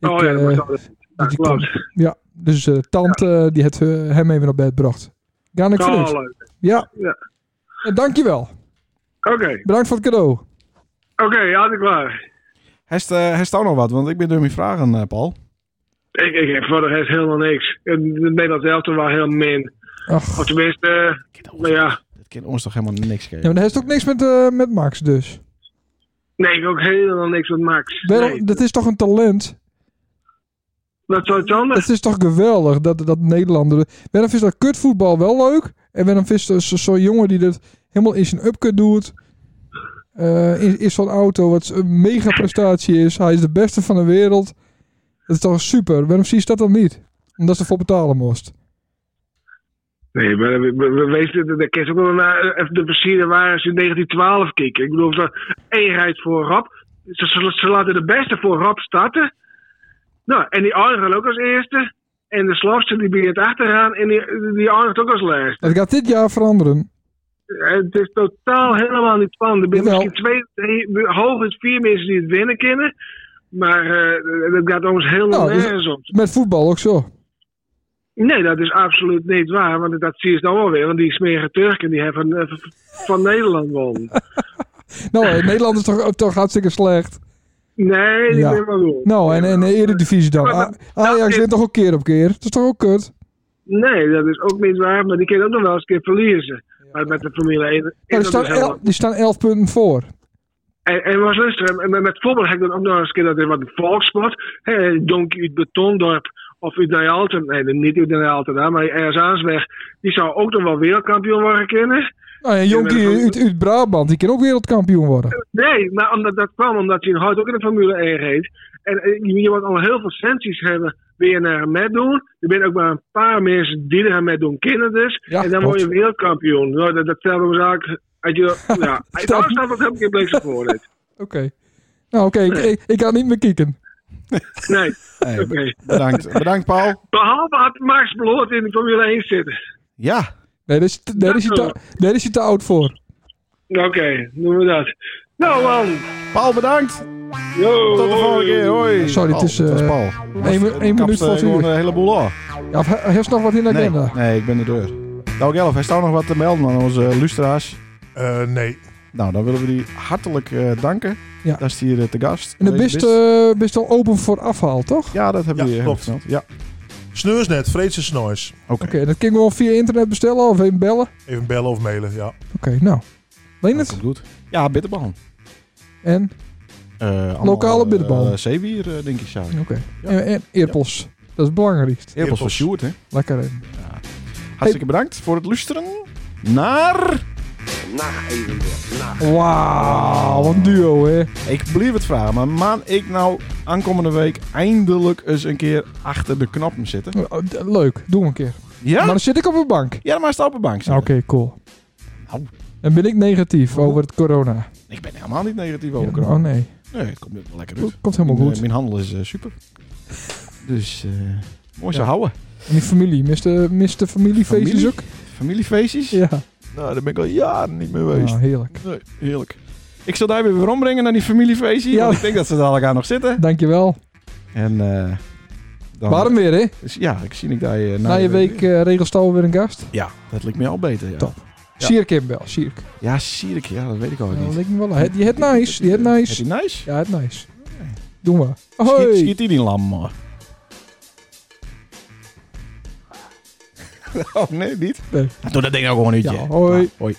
Speaker 2: ik,
Speaker 8: oh ja, dat
Speaker 2: eh,
Speaker 8: was al. Ja,
Speaker 2: die
Speaker 8: klopt.
Speaker 2: ja, dus eh, tante die het eh, hem even naar bed bracht. Ga ik
Speaker 8: Oh,
Speaker 2: vanuit.
Speaker 8: leuk.
Speaker 2: Ja.
Speaker 8: Ja.
Speaker 2: En dankjewel.
Speaker 8: Oké,
Speaker 2: Bedankt voor het cadeau.
Speaker 8: oké, had ik klaar.
Speaker 1: Hij sta- hij staat nog wat, want ik ben door mijn vragen, eh, Paul.
Speaker 8: Ik, ik heb voor de rest helemaal niks. En Nederland zelf was heel min.
Speaker 2: Ach,
Speaker 8: Of tenminste, eh, nou ja.
Speaker 1: Dat kind ons toch helemaal niks geven?
Speaker 2: ja, maar dat heeft ook niks met, eh, met Max dus.
Speaker 8: Nee, ik ook helemaal niks met Max.
Speaker 2: Wel,
Speaker 8: Nee,
Speaker 2: Dat is toch een talent?
Speaker 8: dat zou het anders.
Speaker 2: Het is toch geweldig dat, dat Nederlander. Waarom is dat kutvoetbal wel leuk? En waarom is er zo- zo'n jongen die dat helemaal in zijn upcut doet? eh, is, is zo'n auto wat een mega prestatie is. Hij is de beste van de wereld. Dat is toch super? Waarom zie je dat dan niet? Omdat ze ervoor betalen moest.
Speaker 8: Nee, maar we- we- we- wees, dat dat kan ook wel naar eh, de versieren waren ze in 1912 kijken. Ik bedoel, ze eenheid voor Rob. Ze, ze, ze laten de beste voor Rob starten. Nou, en die anderen ook als eerste. En de slapste die begint achteraan en die, die anderen ook als laatste.
Speaker 2: Dat gaat dit jaar veranderen.
Speaker 8: Het is totaal helemaal niet spannend. Er zijn
Speaker 2: Jawel.
Speaker 8: misschien twee, drie, hooguit vier mensen die het winnen kennen. Maar eh, dat gaat ons helemaal
Speaker 2: Nou, is-
Speaker 8: nergens om.
Speaker 2: Met voetbal ook zo.
Speaker 8: Nee, dat is absoluut niet waar. Want dat zie je dan wel weer. Want die smerige Turken die hebben eh, v- van Nederland gewonnen.
Speaker 2: Nou, eh, Nederland is toch, toch hartstikke slecht.
Speaker 8: Nee, die
Speaker 2: Ja.
Speaker 8: ben wel goed.
Speaker 2: Nou, en, en de Eredivisie dan. A- Ajax wint toch ook keer op keer. Dat is toch ook kut?
Speaker 8: Nee, dat is ook niet waar. Maar die kunnen ook nog wel eens een keer verliezen. Maar met de Formule 1
Speaker 2: Ja,
Speaker 8: is
Speaker 2: Nou, die,
Speaker 8: dat
Speaker 2: staan
Speaker 8: dus helemaal-
Speaker 2: el- die staan 11 punten voor.
Speaker 8: En, en was luisteren, en met, met voetbal heb ik dan ook nog eens een keer dat er wat een volkssport. hè, Donk uit Betondorp of uit Nijalten. Nee, niet uit Nijalten, hè, maar ergens aansweg. Die zou ook nog wel wereldkampioen worden kunnen.
Speaker 2: Nou, een jonkie uit, uit Brabant, die kan ook wereldkampioen worden.
Speaker 8: Nee, maar omdat, dat kwam omdat hij in Hout ook in de Formule 1 reed. En eh, je je moet al heel veel sensies hebben weer naar met doen. Er zijn ook maar een paar mensen die er met doen, kinderen dus.
Speaker 2: Ja,
Speaker 8: en dan
Speaker 2: klopt.
Speaker 8: word je wereldkampioen. Nou, dat, dat stelde we zaak. Uit je, ja, uit
Speaker 2: Stel-
Speaker 8: alles staat wat heb ik in Bleekse voordeed.
Speaker 2: Oké. Nou, oké. Ik, ik, ik ga niet meer kieken.
Speaker 8: Nee,
Speaker 1: Hey,
Speaker 8: oké.
Speaker 1: bedankt. bedankt, Paul.
Speaker 8: Behalve had Max Bloot in de Formule 1 zitten.
Speaker 1: Ja,
Speaker 2: Nee, daar is, te- daar, is hij te, daar is hij te oud voor.
Speaker 8: Oké, doen we dat. Nou man,
Speaker 1: Paul bedankt.
Speaker 8: yo.
Speaker 1: Tot de volgende keer. Hoi.
Speaker 2: Sorry, het
Speaker 1: Paul,
Speaker 2: is,
Speaker 1: dat was
Speaker 2: eh,
Speaker 1: Paul.
Speaker 2: één
Speaker 1: Was- de
Speaker 2: één minuut
Speaker 1: kapste
Speaker 2: voor
Speaker 1: gewoon
Speaker 2: vier.
Speaker 1: een heleboel af.
Speaker 2: Ja, of he- heeft nog wat in de
Speaker 1: Nee,
Speaker 2: agenda?
Speaker 1: nee, ik ben de deur. Nou, Gelf, hij staat nog wat te melden aan onze lustra's.
Speaker 4: Eh, nee.
Speaker 1: Nou, dan willen we die hartelijk eh, danken.
Speaker 2: Ja.
Speaker 1: Dat is hier eh, te gast.
Speaker 2: En de
Speaker 1: Deze
Speaker 2: best,
Speaker 1: best.
Speaker 2: eh, best wel open voor afhaal, toch?
Speaker 1: Ja, dat hebben
Speaker 4: Ja,
Speaker 1: we hier
Speaker 4: klopt.
Speaker 1: vermeld. Ja, Nou,
Speaker 4: Sneursnet, Vreedse Snois.
Speaker 1: oké.
Speaker 2: Oké, dat kunnen we wel via internet bestellen of even bellen. Oké,
Speaker 4: Even bellen of mailen, ja.
Speaker 2: nou. Leen
Speaker 1: Dat
Speaker 2: het.
Speaker 1: komt goed. Ja, bitterballen.
Speaker 2: En,
Speaker 1: Eh, allemaal,
Speaker 2: Lokale
Speaker 1: eh,
Speaker 2: bitterballen.
Speaker 1: zeewier, eh, denk ik zo.
Speaker 2: oké.
Speaker 1: Ja.
Speaker 2: en, en eerpels. Dat is het belangrijkste.
Speaker 1: Eerpels van
Speaker 4: Eerpels.
Speaker 1: Sjoerd, hè.
Speaker 2: Lekker in.
Speaker 1: Hartstikke bedankt voor het luisteren naar...
Speaker 3: Nacht evenbeeld. Nacht.
Speaker 2: Wauw, wat een duo, hè?
Speaker 1: Ik blijf het vragen, maar maan ik nou aankomende week eindelijk eens een keer achter de knoppen zitten?
Speaker 2: Oh, d- Leuk, doe hem een keer.
Speaker 1: Ja?
Speaker 2: Maar dan zit ik op een bank.
Speaker 1: Ja, maar sta op de bank
Speaker 2: Oké,
Speaker 1: zitten.
Speaker 2: cool.
Speaker 1: Nou.
Speaker 2: En ben ik negatief over het corona?
Speaker 1: Ik ben helemaal niet negatief over corona.
Speaker 2: oh nee,
Speaker 1: Nee, het komt wel lekker uit.
Speaker 2: Goed, komt helemaal
Speaker 1: Mijn,
Speaker 2: goed.
Speaker 1: eh, Mijn handel is eh, super. Dus eh, mooi zo
Speaker 2: Ja.
Speaker 1: houden.
Speaker 2: En die familie, mist de, mist de familiefeestjes
Speaker 1: Familie?
Speaker 2: ook?
Speaker 1: Familiefeestjes?
Speaker 2: Ja,
Speaker 1: Nou, daar ben ik al jaren niet meer geweest.
Speaker 2: Ah, heerlijk.
Speaker 1: Nee, heerlijk. Ik zal daar weer weer ombrengen naar die familiefeestje.
Speaker 2: Ja.
Speaker 1: want ik denk dat ze daar elkaar nog zitten.
Speaker 2: Dankjewel.
Speaker 1: En eh, dan...
Speaker 2: Warm weer, hè?
Speaker 1: Dus Ja, ik zie ik daar eh,
Speaker 2: Na je week
Speaker 1: weer.
Speaker 2: eh regelstal weer een gast.
Speaker 1: Ja, dat lijkt me al beter. Ja,
Speaker 2: Top. Nou,
Speaker 1: Ja. Oh,
Speaker 2: Sierk hem wel, Sierk.
Speaker 1: ja Sierik, ja, dat weet ik al
Speaker 2: Ja, dat
Speaker 1: niet.
Speaker 2: lijkt me wel. Het- Die het nice, die het
Speaker 1: Heb
Speaker 2: nice.
Speaker 1: je nice?
Speaker 2: Ja, het nice. Doen we.
Speaker 1: Schiet,
Speaker 2: Hoi!
Speaker 1: schiet die die lam, hoor. Oh, nee, niet?
Speaker 2: Nee.
Speaker 1: Doe dat ding nou gewoon niet,
Speaker 2: Oh, Ja,
Speaker 1: hè. Nou,
Speaker 2: hoi.
Speaker 1: hoi.